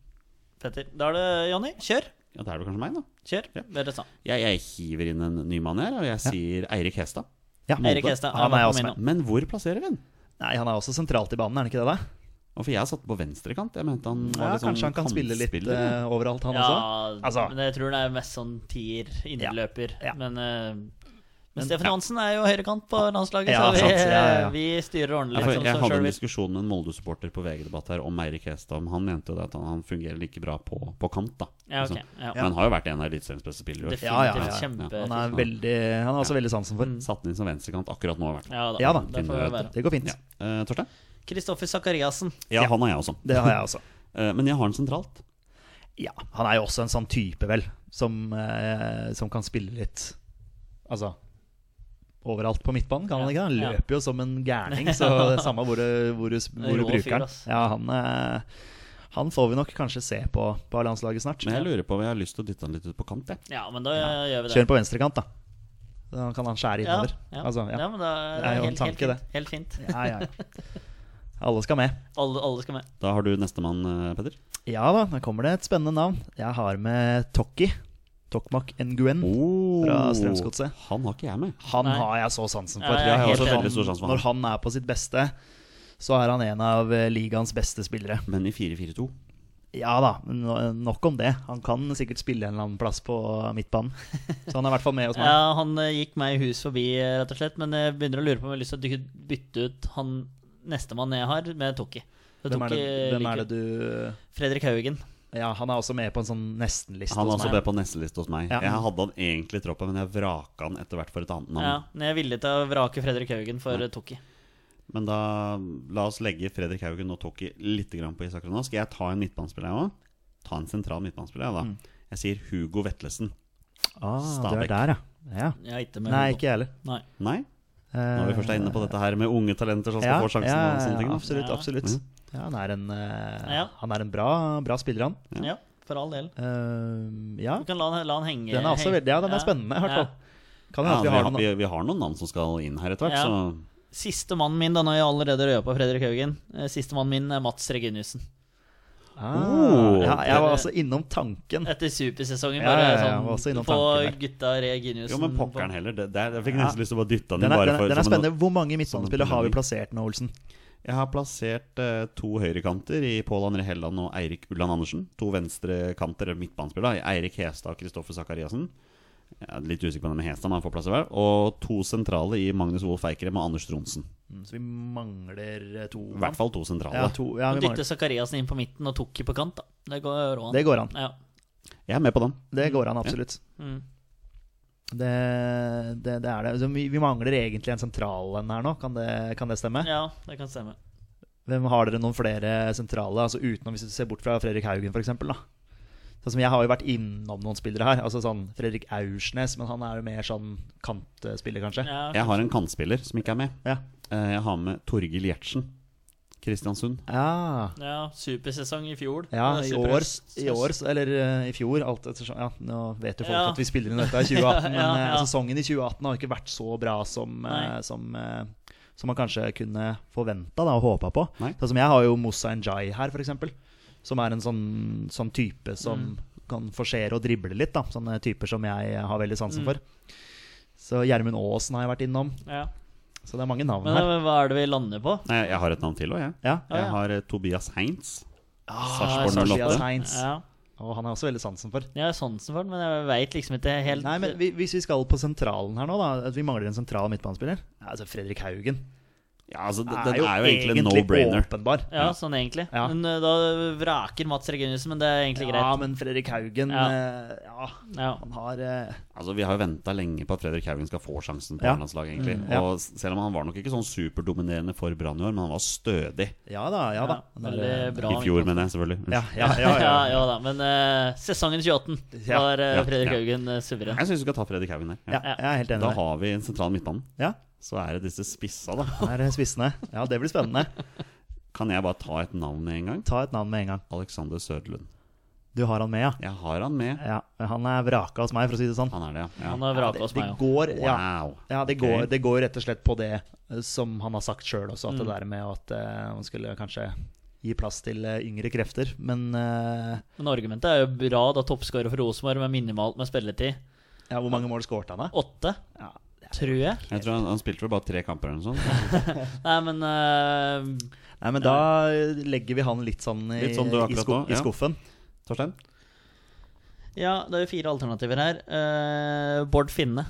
Speaker 3: Petter. Da er det Jonny. Kjør.
Speaker 1: Ja, det er vel kanskje meg, da.
Speaker 3: Kjør.
Speaker 1: Ja.
Speaker 3: Dere sa.
Speaker 1: Jeg, jeg hiver inn en ny mann her, og jeg sier Eirik Hestad.
Speaker 2: Ja.
Speaker 3: Eirik Hestad.
Speaker 2: Han er
Speaker 3: på
Speaker 2: jeg også
Speaker 3: min
Speaker 2: med.
Speaker 3: nå.
Speaker 1: Men hvor plasserer vi den?
Speaker 2: Nei, han er også sentralt i banen, er han ikke det? da?
Speaker 1: Og for jeg satte den på venstrekant. Jeg mente han var
Speaker 2: Ja,
Speaker 1: litt sånn
Speaker 2: kanskje han kan spille litt
Speaker 1: kantspiller, ja.
Speaker 2: eh, overalt, han
Speaker 3: Ja,
Speaker 2: også? Altså,
Speaker 3: men jeg tror det er mest sånn tier, inneløper.
Speaker 2: Ja.
Speaker 3: Men, eh, men
Speaker 2: Men-
Speaker 3: Steffen Hansen er jo høyrekant på landslaget,
Speaker 2: Ja,
Speaker 3: så vi,
Speaker 2: sant, ja, ja.
Speaker 3: vi styrer
Speaker 1: Ja,
Speaker 3: ordentlig.
Speaker 1: for
Speaker 3: som
Speaker 1: jeg
Speaker 3: så
Speaker 1: hadde
Speaker 3: selv
Speaker 1: en
Speaker 3: vil.
Speaker 1: diskusjon med en Molde-supporter på VG-debatt her om Eirik Hestad. om Han mente jo det at han, han fungerer like bra på, på kant, da.
Speaker 3: Ja, ok,
Speaker 1: Liksom.
Speaker 3: ja.
Speaker 1: Men han har jo vært en av eliteseriens beste spillere.
Speaker 3: Definitivt.
Speaker 2: Ja, ja, ja, ja.
Speaker 3: Kjempe-
Speaker 2: Han er veldig, han er også veldig sansen for.
Speaker 1: Satt den inn som venstrekant akkurat nå, i hvert fall.
Speaker 3: Ja da.
Speaker 2: Ja da.
Speaker 3: Det får det være.
Speaker 2: Det går fint.
Speaker 1: Eh, Torstein?
Speaker 3: Kristoffer Sakariassen.
Speaker 1: Ja, han har jeg også.
Speaker 2: Det har jeg også.
Speaker 1: Eh, men jeg har den sentralt.
Speaker 2: Ja, han er jo også en sånn type, vel, som, eh, som kan spille litt Altså overalt på midtbanen, kan
Speaker 3: Ja,
Speaker 2: han ikke? det? Han
Speaker 3: ja.
Speaker 2: løper jo som en gærning, så det er samme hvor du, hvor du, hvor du
Speaker 3: Rå fyr,
Speaker 2: bruker han.
Speaker 3: ass.
Speaker 2: Ja, han, eh, han får vi nok kanskje se på, på landslaget snart.
Speaker 1: Men jeg lurer på om jeg har lyst til å dytte han litt ut på kant, jeg.
Speaker 3: Ja, men da gjør vi det.
Speaker 2: Kjør på venstrekant, da. Da kan han skjære
Speaker 3: Ja,
Speaker 2: innover.
Speaker 3: ja.
Speaker 2: Altså,
Speaker 3: ja,
Speaker 2: ja.
Speaker 3: men da
Speaker 2: Det er jo en
Speaker 3: helt, helt
Speaker 2: tanke,
Speaker 3: fint. Helt fint.
Speaker 2: Ja, ja, ja. Alle skal med.
Speaker 3: Alle, alle skal med.
Speaker 1: Da har du nestemann, eh, Petter.
Speaker 2: Ja da, da kommer det et spennende navn. Jeg har med Tokki. Tokmak Nguen.
Speaker 1: Oh.
Speaker 2: Fra Strømsgodset.
Speaker 1: Han har ikke jeg med.
Speaker 2: Han
Speaker 3: Nei.
Speaker 2: har jeg så sansen
Speaker 3: Ja,
Speaker 2: for.
Speaker 3: jeg er Jeg har helt også enig.
Speaker 1: veldig stor sans for
Speaker 2: når han er på sitt beste, så er han en av eh, ligaens beste spillere.
Speaker 1: Men i 4-4-2
Speaker 2: Ja da, no nok om det. Han kan sikkert spille en eller annen plass på midtbanen. Så han er i hvert fall med hos meg.
Speaker 3: Ja, han eh, gikk meg hus forbi, eh, rett og slett, men jeg begynner å lure på om jeg har lyst til å dy- bytte ut han nestemann jeg har, med Toki. Så
Speaker 2: Hvem er det,
Speaker 3: Toki
Speaker 2: hvem er
Speaker 3: liker-
Speaker 2: det du
Speaker 3: Fredrik Haugen.
Speaker 2: Ja, han er også med på en sånn nesten-liste.
Speaker 1: Han er
Speaker 2: hos
Speaker 1: også
Speaker 2: meg.
Speaker 1: med på neste liste hos meg.
Speaker 2: Ja.
Speaker 1: Jeg hadde han egentlig i troppen, men jeg vraka han etter hvert for et annet navn.
Speaker 3: Ja, men jeg er villig til å vrake Fredrik Haugen for eh, Tokki.
Speaker 1: Men da la oss legge Fredrik Haugen og Tokki litt grann på Isak Ronald. Skal jeg ta en midtbanespiller, jeg òg? Ta en sentral midtbanespiller, jeg, da.
Speaker 2: Mm.
Speaker 1: Jeg sier Hugo Vetlesen.
Speaker 2: Ah, du
Speaker 1: Stabæk.
Speaker 2: er der, ja. ja.
Speaker 3: Jeg er ikke med
Speaker 2: Nei,
Speaker 3: på-
Speaker 2: ikke jeg heller.
Speaker 3: Nei.
Speaker 1: Nei? Når vi først er inne på dette her med unge talenter som skal få sjansen.
Speaker 2: Eh, ja,
Speaker 1: og sånne ting,
Speaker 2: ja,
Speaker 1: da. Mm.
Speaker 2: absolutt.
Speaker 3: Ja.
Speaker 2: absolutt. Ja, han er en, eh,
Speaker 3: Ja.
Speaker 2: han er en bra, bra spiller, han.
Speaker 3: Ja. for all del.
Speaker 2: Eh, ja,
Speaker 3: Du kan la, han- la han henge.
Speaker 2: den er også veldig, ja, den er
Speaker 3: Ja.
Speaker 2: spennende, i hvert
Speaker 3: Ja.
Speaker 2: fall. Kan
Speaker 1: Ja, vi,
Speaker 2: hende at vi har
Speaker 1: har,
Speaker 2: den
Speaker 1: vi, vi har noen navn som skal inn her etter hvert,
Speaker 3: Ja.
Speaker 1: så
Speaker 3: Siste mannen min, da, når jeg allerede røya på Fredrik Haugen, eh, siste mannen min er Mats Reginiussen.
Speaker 2: Ah,
Speaker 1: Oh.
Speaker 2: ja, jeg var altså innom tanken.
Speaker 3: Etter supersesongen,
Speaker 2: Ja,
Speaker 3: bare
Speaker 2: ja, ja, jeg var også
Speaker 3: sånn
Speaker 2: innom
Speaker 3: Få
Speaker 2: tanken
Speaker 3: gutta Reginiussen
Speaker 1: Jo, men pokkeren heller. Det, det, er- jeg fikk nesten lyst til å bare dytte han
Speaker 2: Mm. Den
Speaker 1: inn.
Speaker 2: er,
Speaker 1: bare
Speaker 2: den,
Speaker 1: for-
Speaker 2: er, den er
Speaker 1: som en-
Speaker 2: spennende. Hvor
Speaker 1: som
Speaker 2: mange
Speaker 1: en
Speaker 2: midtbanespillere har vi
Speaker 1: pedagogikk.
Speaker 2: plassert nå, Olsen?
Speaker 1: Jeg har plassert eh, to høyrekanter i Pål André Helland og Eirik Ulland Andersen. To venstrekanter, eller midtbanespillere, i Eirik Hestad og Kristoffer Sakariassen. Jeg er litt usikker på det med Hestad, men han får plass i hver. Og to sentrale i Magnus Wolff Eikrem og Anders Tronsen.
Speaker 2: Mm, Så vi mangler eh, to.
Speaker 1: I hvert fall to sentrale.
Speaker 2: Ja, to ja, vi
Speaker 3: Dytte
Speaker 2: mangler.
Speaker 3: Sakariassen inn på midten og Tokki på kant, da. Det går rå an.
Speaker 2: Det går an.
Speaker 3: Ja.
Speaker 1: Jeg er med på den.
Speaker 2: Det går an, absolutt.
Speaker 3: Mm.
Speaker 2: Det, det, det er det. Så vi, vi mangler egentlig en sentral en her nå, kan det, kan det stemme?
Speaker 3: ja, det kan stemme.
Speaker 2: Hvem Har dere noen flere sentrale, altså utenom hvis du ser bort fra Fredrik Haugen f.eks.? Sånn som jeg har jo vært innom noen spillere her. Altså sånn Fredrik Aursnes, men han er jo mer sånn kantspiller, kanskje.
Speaker 3: Ja,
Speaker 1: Jeg har en kantspiller som ikke er med.
Speaker 2: Ja.
Speaker 1: Eh, Jeg har med Torgil Gjertsen. Kristiansund.
Speaker 2: ja.
Speaker 3: ja supersesong i fjor. Det er
Speaker 2: Ja, i
Speaker 3: super-
Speaker 2: år, i år eller eh, i fjor. Alt ettersom, ja, nå vet jo folk
Speaker 3: Ja.
Speaker 2: at vi spiller inn dette i 2018, men
Speaker 3: Ja, ja.
Speaker 2: eh, sesongen i 2018 har ikke vært så bra som, eh,
Speaker 3: Nei.
Speaker 2: som, eh, som man kanskje kunne forventa og håpa på.
Speaker 1: Nei.
Speaker 2: Sånn som jeg har jo Moussa Njai her, f.eks., som er en sånn, sånn type
Speaker 3: Mm.
Speaker 2: som kan forsere og drible litt. Da. Sånne typer som jeg eh, har veldig
Speaker 3: Mm.
Speaker 2: sansen for. Så Gjermund Aasen har jeg vært innom.
Speaker 3: Ja.
Speaker 2: Så det er mange navn
Speaker 3: Men
Speaker 2: her.
Speaker 3: eh, hva er det vi lander på?
Speaker 1: Nei, jeg har et navn til òg, jeg.
Speaker 2: Ah,
Speaker 3: Ja,
Speaker 2: Ja. Ah,
Speaker 3: ja.
Speaker 1: Jeg har eh, Tobias Heinz.
Speaker 3: Sarpsborg
Speaker 1: Sarpsborg 08.
Speaker 2: Heinz.
Speaker 3: Ja.
Speaker 2: Og han har jeg også veldig sansen for.
Speaker 3: Jeg har sansen for den, men jeg veit liksom ikke helt
Speaker 2: Nei, men vi, Hvis vi skal på sentralen her nå, da at vi mangler en sentral midtbanespiller ja, altså Fredrik Haugen
Speaker 1: Ja, altså, den den er jo egentlig en no-brainer.
Speaker 2: åpenbar.
Speaker 3: Ja, sånn egentlig.
Speaker 2: Ja.
Speaker 3: Men eh, da vraker Mats Reginiussen, men det er egentlig
Speaker 2: Ja,
Speaker 3: greit.
Speaker 2: men Fredrik Haugen
Speaker 3: Ja.
Speaker 2: ja. ja,
Speaker 3: Ja.
Speaker 2: han har eh,
Speaker 1: Altså, Vi har jo venta lenge på at Fredrik Haugen skal få sjansen på
Speaker 2: Ja. Mm,
Speaker 1: landslaget. egentlig
Speaker 2: ja.
Speaker 1: Og s- Selv om han var nok ikke sånn superdominerende for Brann i år, men han var stødig.
Speaker 2: Ja da, ja da. Han er,
Speaker 3: veldig
Speaker 2: eh,
Speaker 3: bra.
Speaker 1: I fjor, mener jeg, selvfølgelig.
Speaker 2: Ja, ja, ja, ja,
Speaker 3: Ja,
Speaker 2: ja.
Speaker 3: ja da, men eh, sesongen 2018
Speaker 2: Ja,
Speaker 3: var eh,
Speaker 1: ja,
Speaker 3: Fredrik
Speaker 1: ja.
Speaker 3: Haugen eh, suveren.
Speaker 1: Jeg syns vi skal ta Fredrik Haugen der.
Speaker 2: ja, jeg er helt enig
Speaker 1: Da
Speaker 2: med deg.
Speaker 1: har vi en sentral midtbane.
Speaker 2: Ja,
Speaker 1: Så er det disse spissa, da.
Speaker 2: han er eh, spissende. Ja, det blir spennende.
Speaker 1: Kan jeg bare ta et navn med en gang?
Speaker 2: Ta et navn med en gang.
Speaker 1: Alexander Søderlund.
Speaker 2: Du har han med, ja?
Speaker 1: Jeg har han med.
Speaker 2: ja han er vraka hos meg, for å si det sånn.
Speaker 1: Han er det, ja.
Speaker 3: Han
Speaker 1: ja.
Speaker 3: har vraka
Speaker 2: det,
Speaker 3: hos
Speaker 2: det
Speaker 3: meg òg.
Speaker 2: går, ja,
Speaker 1: Wow.
Speaker 2: Ja, det,
Speaker 1: Ok.
Speaker 2: går, det går rett og slett på det eh, som han har sagt sjøl også, at
Speaker 1: Mm.
Speaker 2: det der med at eh, man skulle kanskje gi plass til eh, yngre krefter. Men eh,
Speaker 3: Men argumentet er jo bra, da toppskårer for Rosenborg med minimalt med spilletid.
Speaker 2: ja, hvor mange mål skåret han, da?
Speaker 3: Åtte,
Speaker 2: Ja,
Speaker 3: tror jeg.
Speaker 1: Jeg tror han, han spilte vel bare tre kamper eller noe sånt.
Speaker 3: Nei, men eh,
Speaker 2: Nei, men da eh, legger vi han litt sånn i,
Speaker 1: Litt sånn du
Speaker 2: i,
Speaker 1: akkurat
Speaker 2: skuff-
Speaker 1: nå, ja.
Speaker 2: i skuffen.
Speaker 1: Torstein?
Speaker 3: Ja, det er jo fire alternativer her. Eh, Bård Finne.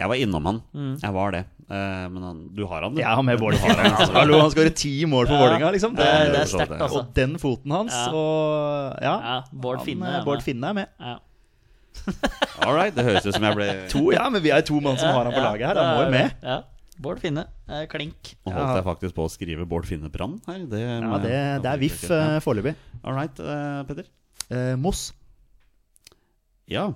Speaker 1: Jeg var innom han. Jeg var det. Eh, men han, du har han, du.
Speaker 2: Mm. Ja, med Bård
Speaker 1: Du har han, altså.
Speaker 2: Hallo, han skårer ti mål for Vålerenga, liksom.
Speaker 3: Det,
Speaker 2: Det,
Speaker 1: Ja,
Speaker 3: det er
Speaker 1: for så vidt
Speaker 3: sterkt,
Speaker 1: det.
Speaker 3: altså.
Speaker 2: og den foten hans,
Speaker 3: Ja.
Speaker 2: og ja.
Speaker 3: Ja, Bård
Speaker 2: han,
Speaker 3: Finne.
Speaker 2: eh,
Speaker 3: er
Speaker 2: Bård
Speaker 3: med.
Speaker 2: Finne er med.
Speaker 3: Ja.
Speaker 1: All right, det høres ut som jeg ble
Speaker 2: To, ja, men vi er to mann som har han på laget her. Han må jo med.
Speaker 3: Ja. Bård Finne. eh, Klink.
Speaker 1: Nå holdt jeg faktisk på å skrive Bård Finne Brann her. Det,
Speaker 2: Ja, det, det er VIF eh, foreløpig.
Speaker 1: All right, eh, Petter.
Speaker 2: Eh, Moss.
Speaker 1: Ja,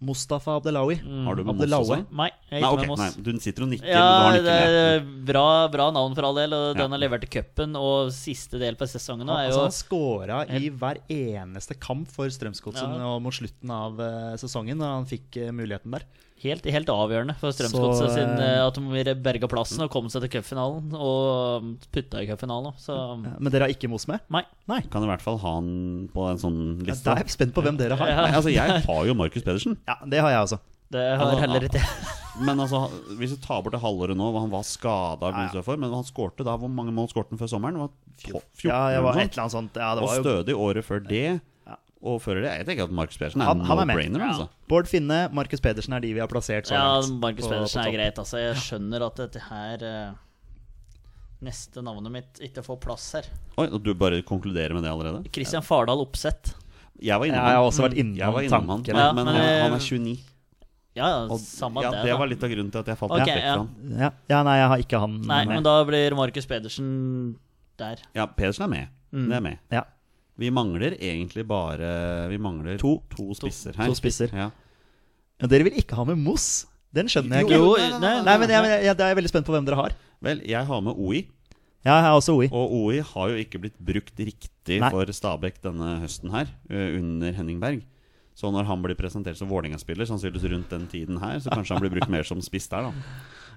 Speaker 2: Mustafa Abdelawi.
Speaker 3: Mm.
Speaker 1: har du med Moss
Speaker 2: Abdelaue.
Speaker 1: også?
Speaker 3: Nei, jeg
Speaker 1: Nei,
Speaker 3: gikk
Speaker 1: ok,
Speaker 3: med
Speaker 1: nei,
Speaker 3: Moss.
Speaker 1: du sitter og nikker,
Speaker 3: Ja,
Speaker 1: men du
Speaker 3: det
Speaker 1: har den ikke med.
Speaker 3: er bra, bra navn for all del, og
Speaker 1: Ja.
Speaker 3: den har levert til cupen. Og siste del på sesongen nå
Speaker 2: Han,
Speaker 3: er
Speaker 2: altså,
Speaker 3: jo
Speaker 2: han scora i hver eneste kamp for Strømsgodset
Speaker 3: Ja.
Speaker 2: nå mot slutten av eh, sesongen. Da han fikk eh, muligheten der.
Speaker 3: helt, helt avgjørende for
Speaker 2: Så,
Speaker 3: Strømsgodset sin
Speaker 2: eh,
Speaker 3: eh, at de berga plassen og kom seg til cupfinalen. Og mm, putta i cupfinalen òg, så mm.
Speaker 2: Ja, Men dere har ikke Moss med?
Speaker 3: Nei.
Speaker 2: Nei.
Speaker 1: Kan i hvert fall ha han på en sånn
Speaker 2: Ja,
Speaker 1: liste.
Speaker 2: da er jeg spent på hvem dere har.
Speaker 1: Nei, altså, jeg har jo Markus Pedersen,
Speaker 2: Ja, Det har jeg også.
Speaker 3: Det har
Speaker 2: Ah,
Speaker 1: Altså,
Speaker 3: heller ikke
Speaker 1: men altså, hvis du tar bort det halvåret nå, hvor han var skada, men han skårte da Hvor mange mål skårte han før sommeren? Det var to- 14
Speaker 2: Ja, jeg
Speaker 1: eller
Speaker 2: var
Speaker 1: noe
Speaker 2: et eller annet sånt. Ja, det
Speaker 1: Og
Speaker 2: var jo
Speaker 1: stødig året før det. Og før det Jeg tenker at Markus Pedersen er
Speaker 2: Han-
Speaker 1: en
Speaker 2: han er med.
Speaker 1: no-brainer.
Speaker 3: Ja.
Speaker 1: Altså.
Speaker 2: Bård Finne, Markus Pedersen er de vi har plassert så
Speaker 3: Ja,
Speaker 2: langt.
Speaker 3: Markus
Speaker 2: på-
Speaker 3: Pedersen er
Speaker 2: på topp.
Speaker 3: greit, altså. Jeg skjønner at dette her eh, neste navnet mitt ikke får plass her.
Speaker 1: Oi, og du bare konkluderer med det allerede?
Speaker 3: Christian Fardal Opseth.
Speaker 1: Jeg var
Speaker 2: Jeg
Speaker 1: innom
Speaker 2: har
Speaker 1: han.
Speaker 2: også vært
Speaker 1: Jeg var
Speaker 2: innom
Speaker 1: innom han,
Speaker 2: tanken.
Speaker 1: men,
Speaker 3: Ja,
Speaker 1: men
Speaker 3: men,
Speaker 1: han-
Speaker 3: eh,
Speaker 1: han er 29.
Speaker 3: Ja, ja,
Speaker 1: Og,
Speaker 3: samme
Speaker 1: ja,
Speaker 3: det.
Speaker 1: det
Speaker 3: da.
Speaker 1: var litt av grunnen til at jeg falt
Speaker 3: Ok,
Speaker 1: litt vekk
Speaker 3: ja.
Speaker 1: fra han.
Speaker 2: Ja, ja, nei, jeg har ikke han
Speaker 3: Nei,
Speaker 2: med.
Speaker 3: men da blir Markus Pedersen der.
Speaker 1: Ja, Pedersen er med.
Speaker 2: Mm.
Speaker 1: Det er med.
Speaker 2: Ja.
Speaker 1: Vi mangler egentlig bare Vi mangler
Speaker 2: To.
Speaker 1: spisser her.
Speaker 2: To spisser.
Speaker 1: Ja.
Speaker 2: Ja, Dere vil ikke ha med Moss? Den skjønner jeg ikke.
Speaker 3: Jo,
Speaker 1: nei, nei,
Speaker 3: nei,
Speaker 2: Nei, men jeg, men jeg, jeg, da er jeg veldig spent på hvem dere har.
Speaker 1: Vel, jeg har med OI,
Speaker 2: Ja, jeg har også OI.
Speaker 1: og OI har jo ikke blitt brukt riktig
Speaker 2: Nei.
Speaker 1: for Stabæk denne høsten her, ø, under Henning Berg. Så når han blir presentert som Vålerenga-spiller, sannsynligvis rundt den tiden her, så kanskje han blir brukt mer som spiss der, da.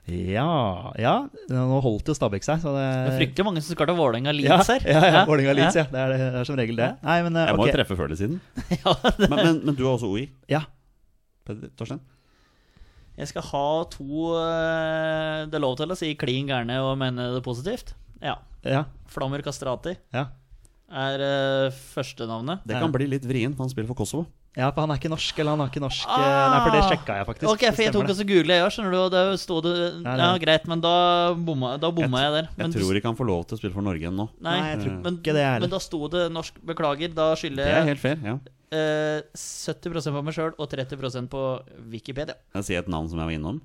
Speaker 2: Ja, ja, nå holdt jo Stabæk seg, så det
Speaker 3: Det er fryktelig mange som skal til Vålerenga
Speaker 2: Eh. ja,
Speaker 3: Leeds her.
Speaker 2: ja, ja, Vålerenga Leeds, ja. Det er, det er som regel det. Nei, men eh,
Speaker 1: Jeg må
Speaker 2: ok.
Speaker 1: jo treffe før eller siden.
Speaker 3: Ja, det-
Speaker 1: Men, men, men du har også OI,
Speaker 2: Ja.
Speaker 1: Peder Torstein?
Speaker 3: Jeg skal ha to eh, Det er lov til å si klin gærne og mene det positivt. Ja.
Speaker 2: Ja.
Speaker 3: Flammer Kastrati
Speaker 2: Ja.
Speaker 3: er uh, førstenavnet.
Speaker 1: Det
Speaker 2: Ja.
Speaker 1: kan bli litt vrient, for han spiller for Kosovo.
Speaker 2: ja, for han er ikke norsk, eller han har ikke norsk eh,
Speaker 3: Ah!
Speaker 2: Nei, for det sjekka jeg faktisk.
Speaker 3: Ok, for jeg
Speaker 2: Det stemmer
Speaker 3: tok
Speaker 2: det.
Speaker 3: også google jeg òg, skjønner du. Og det sto det
Speaker 2: Nei,
Speaker 3: Ja,
Speaker 2: nei.
Speaker 3: greit, men da bomma, da bomma jeg, der. Men
Speaker 1: Jeg tror ikke han får lov til å spille for Norge ennå.
Speaker 3: Nei,
Speaker 2: Nei, jeg tror
Speaker 3: men,
Speaker 2: ikke det heller.
Speaker 3: men da sto det norsk Beklager,
Speaker 1: Det
Speaker 3: da
Speaker 1: er
Speaker 3: skylder jeg
Speaker 1: helt fair. ja
Speaker 3: eh, 70 på meg sjøl og 30 på Wikipedia.
Speaker 1: Jeg sier et navn som jeg var innom.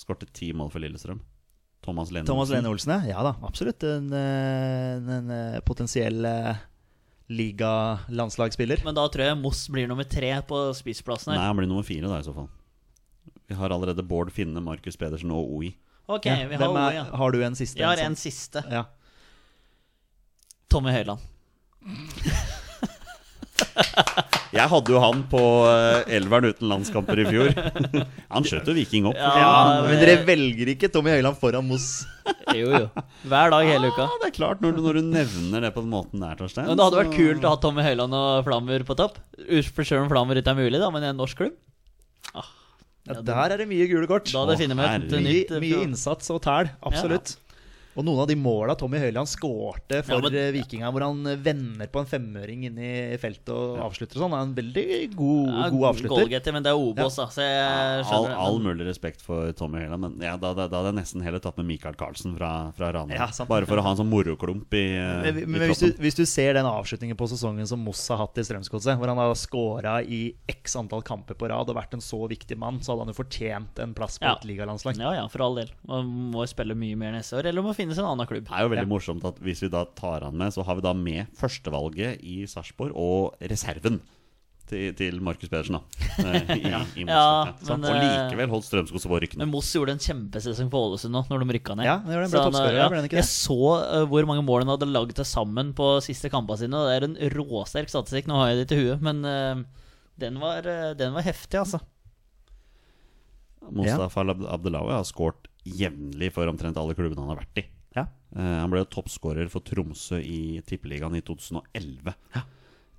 Speaker 1: Skårte ti mål for Lillestrøm. Thomas Lene.
Speaker 2: Thomas Lene Olsen, ja. Ja da, absolutt. En, eh, en, eh, potensiell eh, ligalandslagsspiller.
Speaker 3: Men da tror jeg Moss blir nummer tre på spiseplassen
Speaker 1: Nei,
Speaker 3: her.
Speaker 1: han blir nummer fire da, i så fall. Vi har allerede Bård Finne, Markus Pedersen og OI.
Speaker 3: Ok,
Speaker 2: Ja,
Speaker 3: vi har
Speaker 2: hvem
Speaker 3: Ole,
Speaker 2: er,
Speaker 3: ja.
Speaker 2: har du en siste?
Speaker 3: Jeg har
Speaker 2: sånn?
Speaker 3: en siste.
Speaker 2: Ja.
Speaker 3: Tommy Høiland.
Speaker 1: Jeg hadde jo han på eh, elveren uten landskamper i fjor. Han skjøt jo Viking opp.
Speaker 3: Ja,
Speaker 2: Ja, men
Speaker 3: men-
Speaker 2: dere velger ikke Tommy Høiland foran Moss.
Speaker 3: Jo, jo. Hver dag hele uka.
Speaker 1: Ja, det er klart, når du, når du nevner det på den måten der, Torstein.
Speaker 3: Men det hadde vært
Speaker 1: så-
Speaker 3: kult å ha Tommy Høiland og Flammer på topp. Us- For selv om Flammer ikke er mulig, da, men i en norsk klubb.
Speaker 2: Ja, der er det mye gule kort.
Speaker 3: Da hadde
Speaker 1: Å,
Speaker 3: jeg funnet meg
Speaker 1: herregud.
Speaker 3: til
Speaker 2: Mye,
Speaker 3: nytt. eh,
Speaker 2: mye
Speaker 3: pro-
Speaker 2: innsats og tæl, absolutt. Og noen av de måla Tommy Høiland skårte for
Speaker 3: Ja, men-
Speaker 2: eh, Vikinga, hvor han vender på en femøring inn i feltet og avslutter og sånn, er en veldig god,
Speaker 3: Ja,
Speaker 2: god avslutter.
Speaker 3: Goalgetter, men det er Obos, da, så jeg
Speaker 1: All,
Speaker 3: skjønner det.
Speaker 1: all mulig respekt for Tommy Høiland, men ja, da, da, da hadde jeg nesten heller tatt med Michael Carlsen fra, fra Ranheim.
Speaker 2: Ja, sant.
Speaker 1: Bare for å ha en sånn moroklump i, eh,
Speaker 2: Men, men
Speaker 1: i
Speaker 2: hvis, du,
Speaker 1: kroppen.
Speaker 2: hvis du ser den avslutningen på sesongen som Moss har hatt i Strømsgodset, hvor han har scora i x antall kamper på rad og vært en så viktig mann, så hadde han jo fortjent en plass på
Speaker 3: Ja.
Speaker 2: et ligalandslag.
Speaker 3: Ja ja, for all del. Man må jo spille mye mer neste år, eller må finnes en annen klubb.
Speaker 1: Det er jo veldig
Speaker 2: Ja.
Speaker 1: morsomt at hvis vi da tar han med, så har vi da med førstevalget i Sarpsborg og reserven til, til Markus Pedersen, da. eh, I, i Moss.
Speaker 3: Ja,
Speaker 1: Ja, sant?
Speaker 3: men,
Speaker 1: og
Speaker 3: eh,
Speaker 1: likevel holdt Strømskog på rykkene.
Speaker 3: Men Moss gjorde en kjempesesong på Ålesund nå, når de rykka ned.
Speaker 2: Ja, det gjorde den, ble
Speaker 3: Så han,
Speaker 2: toppskårer,
Speaker 3: ja,
Speaker 2: ble den ikke
Speaker 3: jeg
Speaker 2: det?
Speaker 3: så eh, hvor mange mål han hadde lagd til sammen på siste kampene sine. og Det er en råsterk statistikk. Nå har jeg det til huet, men eh, den var, eh, den var heftig, altså.
Speaker 1: Mustafa Ab- Abdelawi har skåret jevnlig for omtrent alle klubbene han har vært i.
Speaker 2: Ja.
Speaker 1: Eh, han ble jo toppskårer for Tromsø i Tippeligaen i 2011.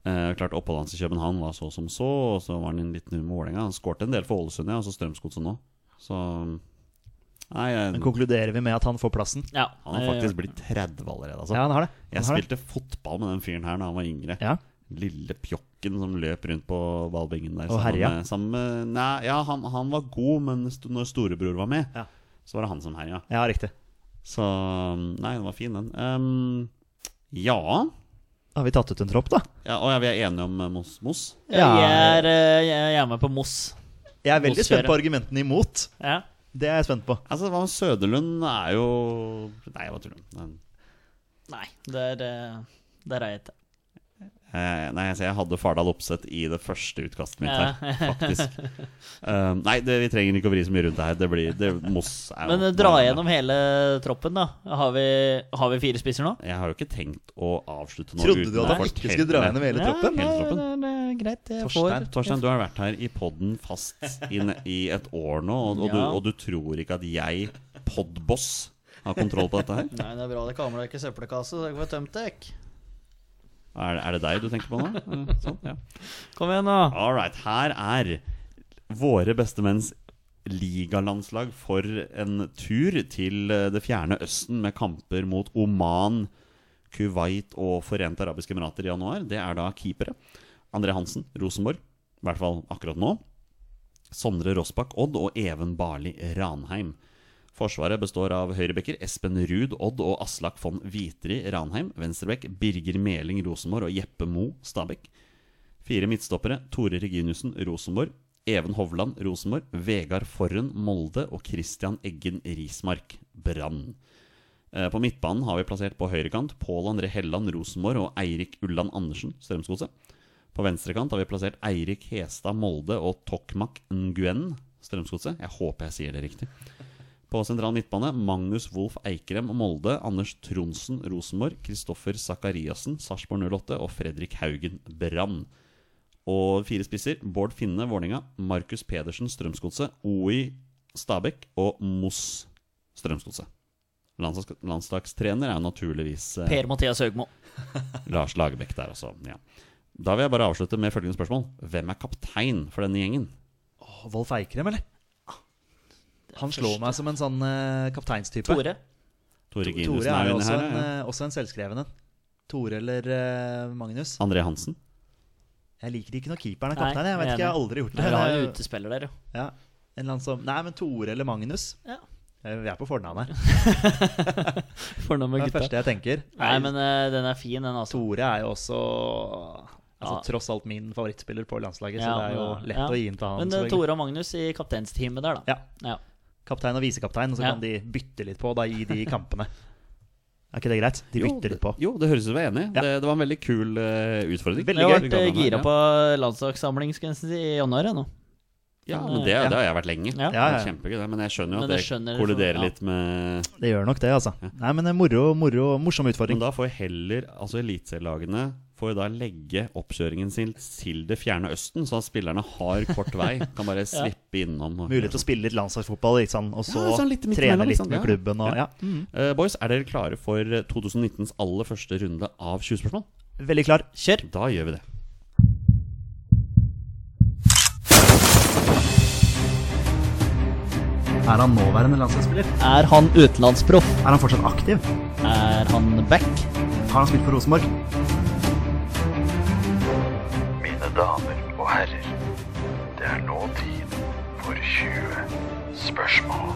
Speaker 1: Eh, klart Oppholdet hans i København var så som så, og så var han en liten med Vålerenga. Han skårte en del for Ålesund, ja, og så Strømsgodset nå. Så Nei, jeg,
Speaker 2: Men konkluderer vi med at han får plassen?
Speaker 3: Ja,
Speaker 1: Han har faktisk blitt 30 allerede, altså.
Speaker 2: Ja, han har det. Han
Speaker 1: jeg
Speaker 2: har det.
Speaker 1: spilte fotball med den fyren her da han var yngre.
Speaker 2: Ja.
Speaker 1: Lille pjokken som løp rundt på ballbingen der.
Speaker 2: Og herja.
Speaker 1: Med, sammen med, nei, ja, han, han var god, men st når storebror var med,
Speaker 2: Ja.
Speaker 1: så var det han som herja.
Speaker 2: ja, riktig.
Speaker 1: Så mm, Nei, den var fin, den. Ehm, ja.
Speaker 2: Da har vi tatt ut en tropp, da.
Speaker 1: ja. Og ja, vi er enige om eh, Moss. Moss.
Speaker 3: Ja.
Speaker 2: Ja.
Speaker 3: Jeg, er, eh, jeg er med på Moss.
Speaker 2: Jeg er veldig
Speaker 3: Moss
Speaker 2: spent
Speaker 3: kjører.
Speaker 2: på argumentene imot.
Speaker 3: Ja.
Speaker 2: Det er jeg spent på.
Speaker 1: Altså, hva med Søderlund er jo Nei, jeg bare tuller. Men,
Speaker 3: Nei, der, eh, der er jeg ikke.
Speaker 1: Eh, nei, altså, jeg hadde Fardal Opseth i det første utkastet mitt
Speaker 3: Ja.
Speaker 1: her, faktisk. Eh, nei, det, vi trenger ikke å vri så mye rundt det her. Det blir det, Moss er jo
Speaker 3: Men eh, dra gjennom hele troppen, da. Har vi, har vi fire spisser nå?
Speaker 1: Jeg har jo ikke tenkt å avslutte nå
Speaker 2: Trodde
Speaker 1: uten
Speaker 2: du
Speaker 1: å
Speaker 2: at han ikke
Speaker 1: fortelle-
Speaker 2: skulle dra gjennom hele
Speaker 3: Ja,
Speaker 2: troppen?
Speaker 1: hele troppen.
Speaker 3: nei, det er eh, greit. Jeg
Speaker 1: Torstein,
Speaker 3: får
Speaker 1: Torstein, du har vært her i podden fast i, ne- i et år nå, og, og, du,
Speaker 3: Ja.
Speaker 1: og du tror ikke at jeg, podboss, har kontroll på dette her?
Speaker 3: Nei, det er bra det kommer dere ikke søppelkasse, så dere får tømt dere.
Speaker 1: Er, er det deg du tenker på nå? Eh, Sånn, ja.
Speaker 3: Kom igjen, da.
Speaker 1: All right, her er våre bestemenns ligalandslag for en tur til eh, det fjerne østen med kamper mot Oman, Kuwait og Forente arabiske emirater i januar. Det er da keepere. André Hansen, Rosenborg. I hvert fall akkurat nå. Sondre Rossbakk, Odd og Even Barli, Ranheim. Forsvaret består av høyrebekker Espen Ruud, Odd og Aslak von Vitri Ranheim. Venstrebekk Birger Meling Rosenborg og Jeppe Mo Stabæk. Fire midtstoppere Tore Reginiussen Rosenborg. Even Hovland Rosenborg. Vegard Forren Molde og Christian Eggen Rismark Brann. Eh, På midtbanen har vi plassert på høyrekant Pål André Helland Rosenborg og Eirik Ulland Andersen Strømsgodset. På venstrekant har vi plassert Eirik Hestad Molde og Tokmak Nguen Strømsgodset. Jeg håper jeg sier det riktig. På sentral midtbane Magnus Wolff Eikrem Molde, Anders Tronsen Rosenborg, Kristoffer Sakariassen Sarpsborg 08 og Fredrik Haugen Brann. Og fire spisser Bård Finne Vålinga, Markus Pedersen Strømsgodset, OI Stabæk og Moss Strømsgodset. Landslags, landslagstrener er naturligvis eh,
Speaker 3: Per Mathias Høgmo.
Speaker 1: Lars Lagerbäck der også. Ja. Da vil jeg bare avslutte med følgende spørsmål. Hvem er kaptein for denne gjengen?
Speaker 2: Åh, Wolf Eikrem, eller? Han slår meg som en sånn eh, kapteinstype.
Speaker 3: Tore.
Speaker 1: Tore
Speaker 2: Tore
Speaker 1: Ginussen
Speaker 2: er
Speaker 1: er
Speaker 2: jo
Speaker 1: jo inne
Speaker 2: også,
Speaker 1: her.
Speaker 2: en,
Speaker 1: ja.
Speaker 2: eh, også en selvskreven en. Tore eller eh, Magnus.
Speaker 1: André Hansen.
Speaker 2: Jeg liker ikke når keeperen er
Speaker 3: Nei,
Speaker 2: kaptein. Jeg vet
Speaker 3: jeg er
Speaker 2: ikke, jeg har
Speaker 3: enig.
Speaker 2: aldri gjort det.
Speaker 3: Dere har
Speaker 2: Det
Speaker 3: jo
Speaker 2: er-
Speaker 3: utespiller der, jo.
Speaker 2: Ja, en eller annen som Nei, men Tore eller Magnus.
Speaker 3: Ja.
Speaker 2: Eh, Vi er på fornavn her.
Speaker 3: Fornavn
Speaker 2: Det
Speaker 3: med
Speaker 2: er det
Speaker 3: gutta.
Speaker 2: første jeg tenker.
Speaker 3: Nei, men eh, den er fin, den, altså.
Speaker 2: Tore er jo også altså,
Speaker 3: Ja.
Speaker 2: tross alt min favorittspiller på landslaget,
Speaker 3: Ja,
Speaker 2: så det er jo lett
Speaker 3: ja.
Speaker 2: å gi inn til han.
Speaker 3: Men eh,
Speaker 2: selvfølgelig.
Speaker 3: Tore og Magnus i kapteinsteamet der, da.
Speaker 2: Ja,
Speaker 3: Ja.
Speaker 2: Kaptein og visekaptein, og så
Speaker 3: Ja.
Speaker 2: kan de bytte litt på da, i de kampene. Er ikke det greit? De
Speaker 1: Jo,
Speaker 2: bytter litt på.
Speaker 1: Jo, det høres ut som vi er enig.
Speaker 2: Ja.
Speaker 1: Det, det var en veldig kul eh, utfordring.
Speaker 2: Veldig
Speaker 3: Jeg har
Speaker 2: gøy.
Speaker 3: vært eh, gira på landslagssamling skal jeg nesten si, i januar jeg, nå.
Speaker 1: Ja, men det,
Speaker 2: Ja.
Speaker 1: det har jeg vært lenge.
Speaker 3: Ja.
Speaker 2: Ja,
Speaker 1: Det
Speaker 2: ja.
Speaker 1: er Kjempegøy, det. Men jeg skjønner jo
Speaker 3: Men
Speaker 1: at det,
Speaker 3: jeg skjønner-
Speaker 1: kolliderer
Speaker 3: ja.
Speaker 1: litt med
Speaker 2: Det gjør nok det, altså. Nei, men eh, moro, moro, morsom utfordring.
Speaker 1: Men da får heller altså eliteserielagene får jo da legge oppkjøringen sin til det fjerne østen, så at spillerne har kort vei. Kan bare svippe innom. og-
Speaker 2: Mulighet til å spille litt landslagsfotball, ikke sant? og så
Speaker 1: Ja, sånn litt midt
Speaker 2: trene
Speaker 1: imellom,
Speaker 2: litt
Speaker 1: liksom.
Speaker 2: med
Speaker 1: Ja.
Speaker 2: klubben. Og, ja. Mm.
Speaker 1: Eh, boys, er dere klare for eh, 2019s aller første runde av 20 spørsmål?
Speaker 2: Veldig klar.
Speaker 3: Kjør!
Speaker 1: Da gjør vi det.
Speaker 2: Er han nåværende landslagsspiller?
Speaker 3: Er han utenlandsproff?
Speaker 2: Er han fortsatt aktiv?
Speaker 3: Er han back?
Speaker 2: Har han spilt for Rosenborg?
Speaker 5: Mine damer og herrer, det er nå tid for 20 spørsmål.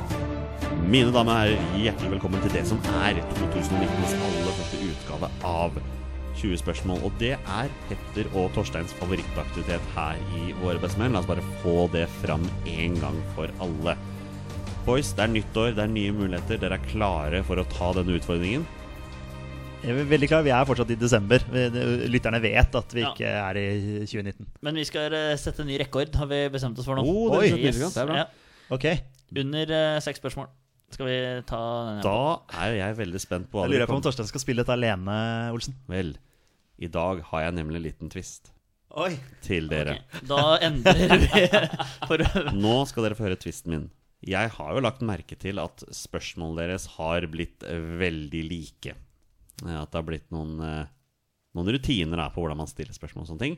Speaker 1: Mine damer og herrer, hjertelig velkommen til det som er 2019s aller første utgave av 20 spørsmål. Og det er Petter og Torsteins favorittaktivitet her i Våre bestemenn. La oss bare få det fram en gang for alle. Boys, det er nyttår, det er nye muligheter. Dere er klare for å ta denne utfordringen.
Speaker 2: Jeg er veldig klar, Vi er fortsatt i desember. Vi- det- Lytterne vet at vi
Speaker 3: Ja.
Speaker 2: ikke er i 2019.
Speaker 3: Men vi skal eh, sette ny rekord, har vi bestemt oss for nå.
Speaker 1: Oh, det er
Speaker 3: Oi,
Speaker 1: litt nydelig, det er bra.
Speaker 3: Ja.
Speaker 2: Ok, Jeg
Speaker 3: Under eh, seks spørsmål skal vi ta den. ja.
Speaker 1: Da er jo jeg veldig spent på hva
Speaker 2: lurer
Speaker 1: dere
Speaker 2: på om
Speaker 1: kommer
Speaker 2: Torstein skal spille dette alene, Olsen.
Speaker 1: Vel, i dag har jeg nemlig en liten twist
Speaker 2: Oi
Speaker 1: til dere.
Speaker 3: Ok, Da endrer vi for
Speaker 1: Nå skal dere få høre tvisten min. Jeg har jo lagt merke til at spørsmålene deres har blitt eh, veldig like. Eh, At det har blitt noen, eh, noen rutiner da, på hvordan man stiller spørsmål og sånne ting.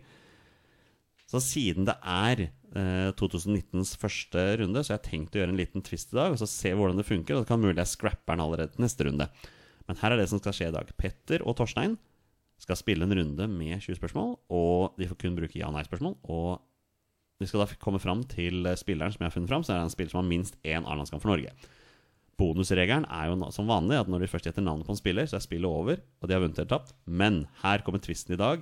Speaker 1: Så siden det er eh, 2019s første runde, så har jeg tenkt å gjøre en liten twist i dag, og så se hvordan det funker, og så kan mulig jeg scrapper den allerede til neste runde. Men her er det som skal skje i dag. Petter og Torstein skal spille en runde med 20 spørsmål, og de får kun bruke ja- og nei-spørsmål, og vi skal da komme fram til eh, spilleren som jeg har funnet fram, så er det en spiller som har minst én A-landskamp for Norge. Bonusregelen er jo na- som vanlig at når de først gjetter navnet på en spiller, så er spillet over, og de har vunnet eller tapt. Men her kommer tvisten i dag.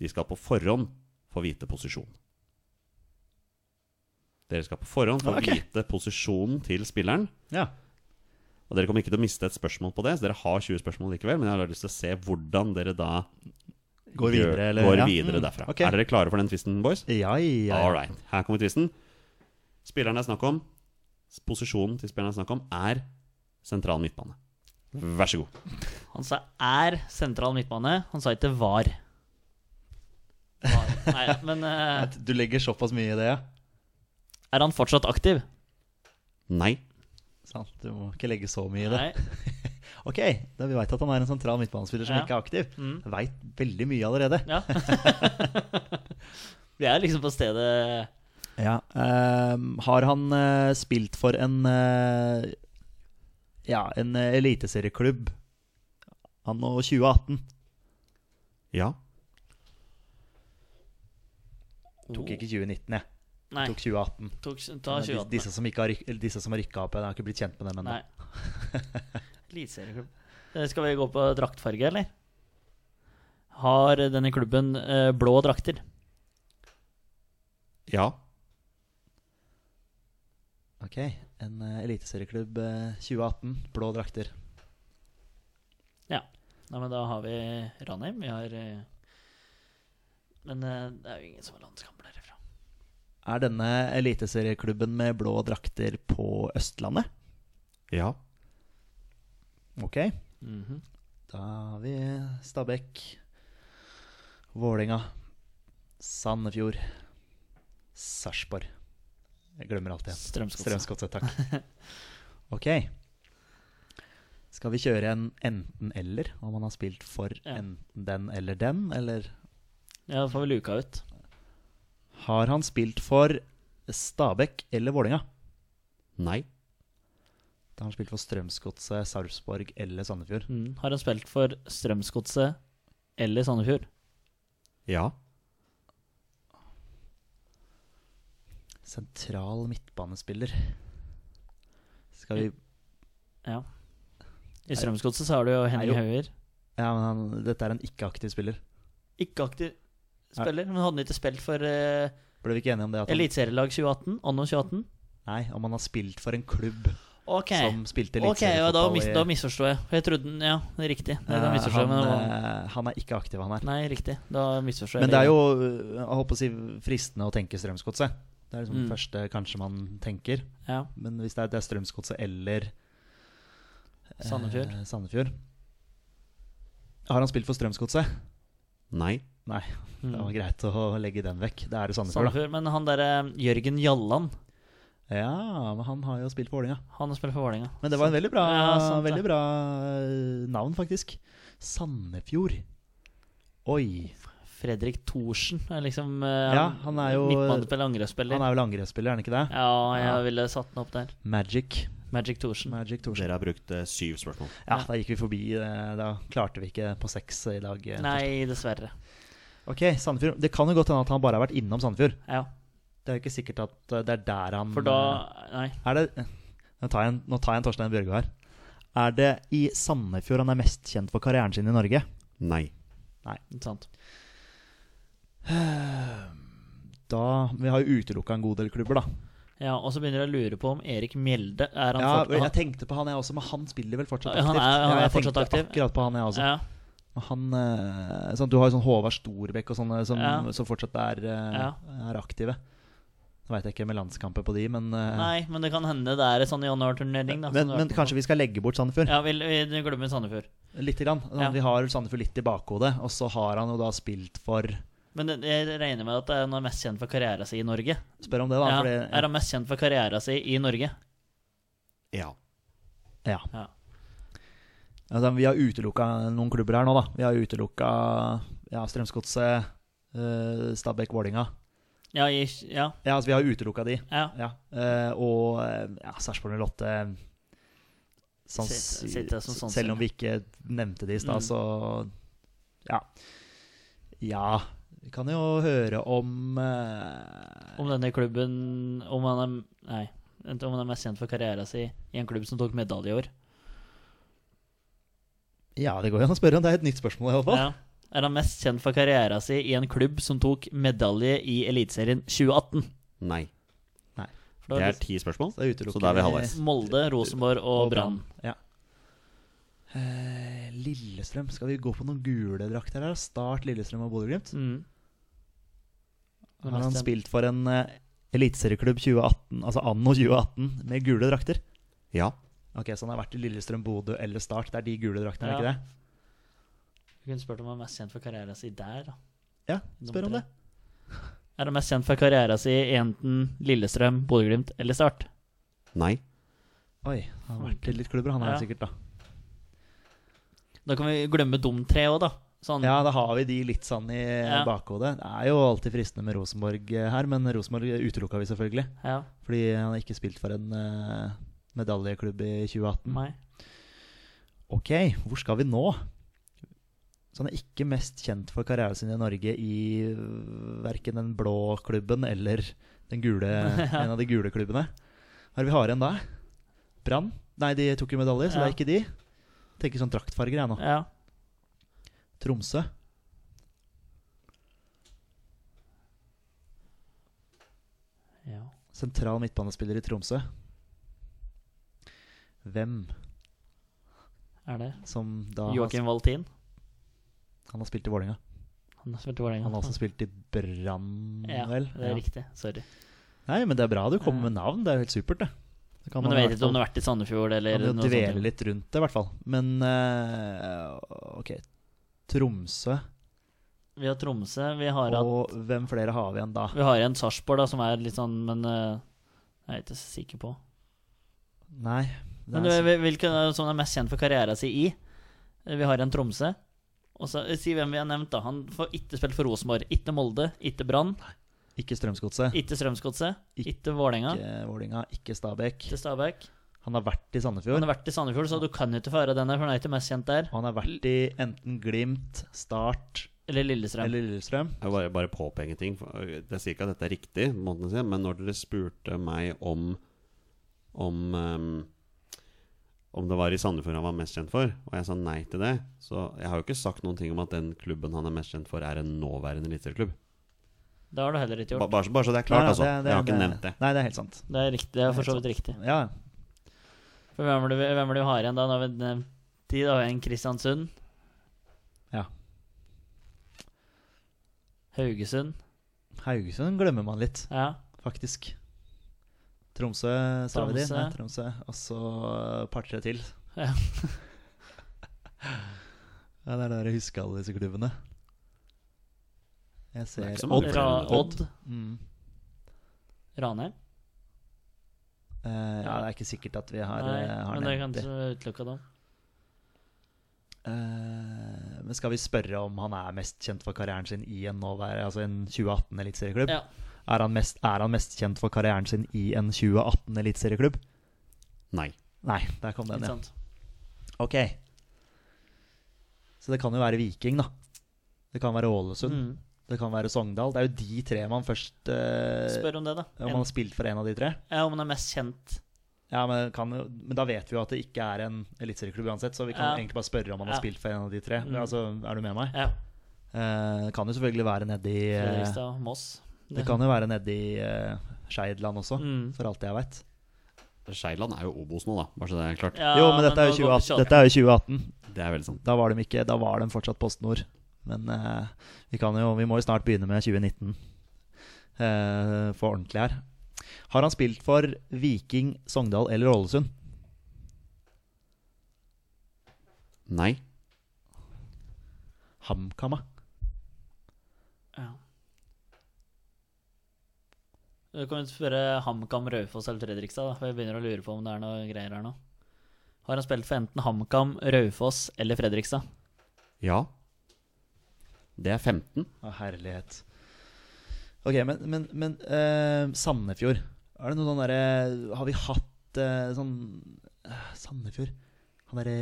Speaker 1: De skal på forhånd få vite posisjon. Dere skal på forhånd få
Speaker 2: Ok.
Speaker 1: vite posisjonen til spilleren.
Speaker 2: Ja,
Speaker 1: Og dere kommer ikke til å miste et spørsmål på det, så dere har 20 spørsmål likevel. Men jeg har lyst til å se hvordan dere da
Speaker 2: Går
Speaker 1: gjør-
Speaker 2: videre, eller?
Speaker 1: går
Speaker 2: ja.
Speaker 1: videre
Speaker 2: Mm,
Speaker 1: derfra.
Speaker 2: ok.
Speaker 1: Er dere klare for den tvisten, boys?
Speaker 2: Ja, ja.
Speaker 1: All
Speaker 2: ja.
Speaker 1: right. Her kommer tvisten. Spilleren det er snakk om, posisjonen til spilleren det er snakk om, er sentral midtbane. Vær så god.
Speaker 3: Han sa er sentral midtbane. Han sa ikke var. var. Nei, men eh,
Speaker 2: At Du legger såpass mye i det, ja?
Speaker 3: er han fortsatt aktiv?
Speaker 1: Nei.
Speaker 2: Sant, Du må ikke legge så mye i det.
Speaker 3: Nei.
Speaker 2: Ok, da Vi veit at han er en sentral midtbanespiller som
Speaker 3: Ja. Mm.
Speaker 2: ikke er aktiv. Veit veldig mye allerede.
Speaker 3: Ja. Vi er liksom på stedet
Speaker 2: Ja. ehm, har han eh, spilt for en eh, Ja, en eh, eliteserieklubb anno 2018?
Speaker 1: Ja.
Speaker 2: Tok ikke 2019, jeg.
Speaker 3: Nei.
Speaker 2: Tok 2018.
Speaker 3: Tok, ta
Speaker 2: Men de-
Speaker 3: 28.
Speaker 2: Disse som, ikke har, ryk- eller disse som har rykka opp igjen, har ikke blitt kjent med dem ennå.
Speaker 3: Nei. Eliteserieklubb. Eh, Skal vi gå på draktfarge, eller? Har denne klubben eh, blå drakter?
Speaker 1: Ja.
Speaker 2: Ok, En eh, eliteserieklubb eh, 2018, blå drakter.
Speaker 3: Ja. Nei, men da har vi Ranheim. Vi har eh, Men eh, det er jo ingen som har landskamp derifra.
Speaker 2: Er denne eliteserieklubben med blå drakter på Østlandet?
Speaker 1: Ja.
Speaker 2: Ok,
Speaker 3: Mhm.
Speaker 2: da har vi Stabæk, Vålinga, Sandefjord, Sarpsborg. Jeg glemmer alltid en.
Speaker 3: Strømsgodset.
Speaker 2: Strømsgodset, takk. Ok. Skal vi kjøre en enten-eller, om man har spilt for
Speaker 3: Ja.
Speaker 2: enten den eller den? Eller
Speaker 3: Ja, da får vi luka ut.
Speaker 2: har han spilt for Stabæk eller Vålinga?
Speaker 1: Nei.
Speaker 2: Da har han spilt for Strømsgodset, Sarpsborg eller Sandefjord.
Speaker 3: Mm. Har han spilt for Strømsgodset eller Sandefjord?
Speaker 1: Ja.
Speaker 2: Sentral midtbanespiller. Skal vi
Speaker 3: Ja. I Strømsgodset så har du jo Henning
Speaker 2: jo-
Speaker 3: Hauger.
Speaker 2: Ja, men han, dette er en ikke-aktiv spiller.
Speaker 3: Ikke aktiv spiller, men hadde han ikke spilt for eh,
Speaker 2: Ble vi ikke enige om det? At han,
Speaker 3: Eliteserielag 2018? Anno 2018?
Speaker 2: nei, om han har spilt for en klubb
Speaker 3: Ok.
Speaker 2: som spilte
Speaker 3: Ok, ja, da,
Speaker 2: eliteseriefotball
Speaker 3: mis, da misforstod jeg. For jeg trodde den- Ja, det er riktig. Nei, da
Speaker 2: Eh,
Speaker 3: misforstod jeg,
Speaker 2: han,
Speaker 3: men det var,
Speaker 2: eh, han er ikke aktiv, han her.
Speaker 3: Nei, riktig. Da misforstår jeg.
Speaker 2: Men det er jo øh, jeg håper å si, fristende å tenke Strømsgodset. Det er liksom
Speaker 3: Mm.
Speaker 2: det første kanskje man tenker.
Speaker 3: Ja.
Speaker 2: Men hvis det er, det er Strømsgodset eller eh,
Speaker 3: Sandefjord.
Speaker 2: Sandefjord Har han spilt for Strømsgodset?
Speaker 1: Nei.
Speaker 2: Nei, det var
Speaker 3: Mm.
Speaker 2: greit å legge den vekk. Det er det Sandefjord,
Speaker 3: Sandefjord. Men han derre eh, Jørgen Jalland,
Speaker 2: da. Ja, men han har jo spilt for Vålinga.
Speaker 3: han spiller for Vålerenga.
Speaker 2: Men det var en veldig bra,
Speaker 3: Ja, sant det.
Speaker 2: veldig bra øh, navn, faktisk. Sandefjord. Oi.
Speaker 3: Fredrik Thorsen er liksom
Speaker 2: Ja, han er jo- eh,
Speaker 3: Midtbanespiller, angrepsspiller.
Speaker 2: Han er vel angrepsspiller, er han ikke det?
Speaker 3: Ja, jeg
Speaker 2: Ja.
Speaker 3: ville satt den opp der.
Speaker 2: Magic.
Speaker 3: Magic Thorsen.
Speaker 2: Magic Thorsen.
Speaker 1: Dere har brukt eh, syv spørsmål.
Speaker 2: Ja, da gikk vi forbi. eh, Da klarte vi ikke på seks i dag. eh,
Speaker 3: Nei, dessverre.
Speaker 2: Ok, Sandefjord. Det kan jo godt hende at han bare har vært innom Sandefjord.
Speaker 3: Ja,
Speaker 2: Det er jo ikke sikkert at eh, det er der han
Speaker 3: for da Nei.
Speaker 2: eh, Er det eh, Nå tar jeg en, nå tar jeg en Torstein Bjørgo her. Er det i Sandefjord han er mest kjent for karrieren sin i Norge?
Speaker 1: Nei.
Speaker 3: ikke Sant.
Speaker 2: Da Vi har jo utelukka en god del klubber, da.
Speaker 3: Ja, og så begynner jeg å lure på om Erik Mjelde er han
Speaker 2: Ja,
Speaker 3: fortsatt
Speaker 2: jeg tenkte på han jeg også, men han spiller vel fortsatt
Speaker 3: Ja,
Speaker 2: aktivt?
Speaker 3: han er- han
Speaker 2: Ja,
Speaker 3: er
Speaker 2: jeg
Speaker 3: fortsatt
Speaker 2: tenkte
Speaker 3: aktiv.
Speaker 2: Akkurat på han jeg også.
Speaker 3: ja.
Speaker 2: Men Han, eh, sånn, du har jo sånn Håvard Storbekk og sånne som,
Speaker 3: Ja.
Speaker 2: som fortsatt er, eh,
Speaker 3: Ja.
Speaker 2: er aktive. Nå veit jeg ikke med landskamper på de, men eh,
Speaker 3: Nei, men det kan hende det er en sånn januarturnering. da, som du har
Speaker 2: Men, men
Speaker 3: vært på.
Speaker 2: kanskje vi skal legge bort Sandefjord?
Speaker 3: Ja, vi, vi glemmer Sandefjord.
Speaker 2: Lite grann. Sånn,
Speaker 3: Ja.
Speaker 2: Vi har Sandefjord litt i bakhodet, og så har han jo da spilt for
Speaker 3: Men det- jeg regner med at det er han er mest kjent for karriera si i Norge.
Speaker 2: Spør om det, da.
Speaker 3: Ja, er
Speaker 2: Fordi,
Speaker 3: han mest kjent for karriera si i Norge?
Speaker 1: Ja.
Speaker 2: ja.
Speaker 3: Ja.
Speaker 2: Altså, vi har utelukka noen klubber her nå, da. Vi har utelukka ja, Strømsgodset, eh, Stabæk, Vålinga.
Speaker 3: Ja, i, ja,
Speaker 2: Ja, altså, vi har utelukka de.
Speaker 3: ja.
Speaker 2: Ja. eh, og eh, ja, Sarpsborg 08 sans,
Speaker 3: Sitter- sitter som sannsynlig.
Speaker 2: Selv om vi ikke nevnte det i stad,
Speaker 3: Mm.
Speaker 2: så Ja. Ja. Vi kan jo høre om eh,
Speaker 3: Om denne klubben Om han er Nei. vent, Om han er mest kjent for karriera si i en klubb som tok medalje i år.
Speaker 2: Ja, det går jo an å spørre om det er et nytt spørsmål, i alle fall.
Speaker 3: Ja. Er han mest kjent for karriera si i en klubb som tok medalje i Eliteserien 2018?
Speaker 1: Nei.
Speaker 3: For
Speaker 1: Det
Speaker 3: da
Speaker 1: er ti spørsmål.
Speaker 2: Så, da utelukker
Speaker 1: Så da er vi
Speaker 2: vi-
Speaker 1: halvveis.
Speaker 3: Molde, Rosenborg og
Speaker 2: Og Brann.
Speaker 3: Brann.
Speaker 2: Eh, Lillestrøm. Skal vi gå på noen gule drakter her? Start Lillestrøm og Bodø-Glimt.
Speaker 3: Mm.
Speaker 2: Har han spilt for en eh, eliteserieklubb 2018, altså anno 2018, med gule drakter?
Speaker 1: Ja.
Speaker 2: Ok, Så han har vært i Lillestrøm, Bodø eller Start. Det er de gule draktene, er det
Speaker 3: Ja.
Speaker 2: ikke det?
Speaker 3: Vi kunne spurt om han er mest kjent for karriera si der, da.
Speaker 2: Ja,
Speaker 3: Nummer
Speaker 2: spør om
Speaker 3: tre.
Speaker 2: det.
Speaker 3: Er han mest kjent for karriera si i enten Lillestrøm, Bodø-Glimt eller Start?
Speaker 1: Nei.
Speaker 2: Oi, han har vært i litt klubber, han her
Speaker 3: Ja.
Speaker 2: sikkert, da.
Speaker 3: Da kan vi glemme de tre òg, da. Sånn,
Speaker 2: Ja, da har vi de litt sånn i
Speaker 3: Ja.
Speaker 2: bakhodet. Det er jo alltid fristende med Rosenborg eh, her, men Rosenborg utelukka vi selvfølgelig.
Speaker 3: ja,
Speaker 2: Fordi han har ikke spilt for en eh, medaljeklubb i 2018.
Speaker 3: nei.
Speaker 2: Ok, hvor skal vi nå? Så han er ikke mest kjent for karrieren sin i Norge i øh, verken den blå klubben eller den gule, en av de gule klubbene. Hva er det vi har igjen da? Brann? Nei, de tok jo medalje, så det
Speaker 3: Ja.
Speaker 2: er ikke de. Tenker sånn draktfarger, jeg nå.
Speaker 3: Ja.
Speaker 2: Tromsø.
Speaker 3: ja.
Speaker 2: Sentral midtbanespiller i Tromsø. Hvem
Speaker 3: Er det
Speaker 2: som da
Speaker 3: Joakim Valtin?
Speaker 2: har, Han har spilt i Vålerenga.
Speaker 3: Han har spilt i Vålerenga.
Speaker 2: Han har også spilt i Brann,
Speaker 3: ja,
Speaker 2: vel?
Speaker 3: det er riktig. Sorry.
Speaker 2: Nei, men det er bra du kommer med navn. Det er jo helt supert, det. det kan
Speaker 3: Men
Speaker 2: man
Speaker 3: du
Speaker 2: i
Speaker 3: vet
Speaker 2: hvert
Speaker 3: ikke om
Speaker 2: fall-
Speaker 3: det har vært i Sandefjord eller
Speaker 2: Kan
Speaker 3: noe
Speaker 2: jo dvele
Speaker 3: sånt?
Speaker 2: litt rundt det, i hvert fall. Men eh, OK. Tromsø.
Speaker 3: Vi har Tromsø. Vi har hatt
Speaker 2: Og hvem flere har vi igjen da?
Speaker 3: Vi har en Sarpsborg da, som er litt sånn, men eh, jeg er ikke så sikker på.
Speaker 2: Nei det
Speaker 3: Men
Speaker 2: er,
Speaker 3: hvil- hvilken er det som er mest kjent for karrieren sin i? Eh, Vi har en Tromsø. Og så eh, Si hvem vi har nevnt, da. Han får ikke spilt for Rosenborg. Ikke Molde, ikke Brann,
Speaker 2: Ikke Strømsgodset.
Speaker 3: ikke Strømsgodset,
Speaker 2: Ikke-
Speaker 3: ikke Vålerenga,
Speaker 2: Ikke Vålinga, ikke Stabæk.
Speaker 3: ikke Stabæk.
Speaker 2: Han har vært i
Speaker 3: Han
Speaker 2: Sandefjord.
Speaker 3: har vært i Sandefjord, så du kan jo ikke få høre denne, for han er ikke mest kjent der.
Speaker 2: Og han har vært i enten Glimt, Start
Speaker 3: Eller Lillestrøm.
Speaker 2: eller Lillestrøm.
Speaker 1: Jeg vil bare, bare påpeke en ting. for øh, Jeg sier ikke at dette er riktig, måten å si, men når dere spurte meg om om, ehm, om det var i Sandefjord han var mest kjent for, og jeg sa nei til det Så jeg har jo ikke sagt noen ting om at den klubben han er mest kjent for, er en nåværende eliteserieklubb.
Speaker 3: Det har du heller ikke
Speaker 1: Ba-
Speaker 3: gjort.
Speaker 1: Bare, så- bare så det er klart,
Speaker 2: Nei,
Speaker 1: altså.
Speaker 2: det- det-
Speaker 1: jeg har ikke
Speaker 2: det-
Speaker 1: nevnt det.
Speaker 2: Nei, det er helt sant.
Speaker 3: Det er, riktig, det er for så vidt riktig.
Speaker 2: Ja, ja.
Speaker 3: For hvem er det vi- hvem er det vi har igjen da? Nå har vi nevnt de, da har vi en Kristiansund.
Speaker 2: Ja.
Speaker 3: Haugesund.
Speaker 2: Haugesund glemmer man litt,
Speaker 3: Ja.
Speaker 2: faktisk. Tromsø, sa vi de?
Speaker 3: Tromsø.
Speaker 2: Nei, Tromsø. Og så eh, et par-tre til.
Speaker 3: Ja.
Speaker 2: ja, det er det jeg husker alle disse klubbene. Jeg
Speaker 1: Det er
Speaker 2: ser
Speaker 1: ikke så mange
Speaker 2: Odd.
Speaker 1: flere
Speaker 3: Ra
Speaker 1: enn det.
Speaker 3: Odd.
Speaker 2: Mm.
Speaker 3: Ranheim.
Speaker 2: Eh, ja, det er ikke sikkert at vi har,
Speaker 3: Nei,
Speaker 2: eh, har
Speaker 3: men det kan
Speaker 2: nevnt dem.
Speaker 3: ikke utelukke dem.
Speaker 2: Eh, men skal vi spørre om han er mest kjent for karrieren sin i en, nåvær- altså en 2018 eliteserieklubb?
Speaker 3: Ja.
Speaker 2: Er, han mest- er han mest kjent for karrieren sin i en 2018 eliteserieklubb?
Speaker 1: Nei.
Speaker 2: Nei, der kom den,
Speaker 3: Ikke
Speaker 2: ja.
Speaker 3: sant.
Speaker 2: Ok. Så det kan jo være Viking, da. Det kan være Ålesund.
Speaker 3: Mm.
Speaker 2: Det kan være Sogndal. Det er jo de tre man først eh,
Speaker 3: Spør om det, da.
Speaker 2: Om man har spilt for en av de tre.
Speaker 3: ja, om han er mest kjent.
Speaker 2: Ja, men, det kan, jo- men da vet vi jo at det ikke er en eliteserieklubb uansett, så vi kan
Speaker 3: Ja.
Speaker 2: egentlig bare spørre om man har
Speaker 3: Ja.
Speaker 2: spilt for en av de tre.
Speaker 3: Mm.
Speaker 2: Altså, er du med meg?
Speaker 3: Ja.
Speaker 2: Eh, det kan jo selvfølgelig være nedi eh,
Speaker 3: Fredrikstad, Moss.
Speaker 2: Det kan jo være nedi eh, Skeidland også,
Speaker 3: Mm.
Speaker 2: for alt jeg veit.
Speaker 1: Skeiland er jo Obos nå, da. Bare så det er klart.
Speaker 3: Ja,
Speaker 2: jo, men dette er jo,
Speaker 3: nå går
Speaker 2: 2018,
Speaker 3: vi
Speaker 2: dette er jo 2018.
Speaker 1: Det er veldig sant.
Speaker 2: Da var de, ikke, da var de fortsatt PostNord. Men eh, vi, kan jo, vi må jo snart begynne med 2019 eh, for ordentlig her. Har han spilt for Viking, Sogndal eller Ålesund?
Speaker 1: Nei.
Speaker 2: HamKam,
Speaker 3: kjapt. Ja. Du kan jo spørre HamKam, Raufoss eller Fredrikstad, da. For jeg begynner å lure på om det er noe greier her nå. Har han spilt for enten HamKam, Raufoss eller Fredrikstad?
Speaker 1: Ja. Det er 15.
Speaker 2: Å, herlighet. Ok, men, men, men eh, Sandefjord. Er det noe sånn derre Har vi hatt eh, sånn eh, Sandefjord Han derre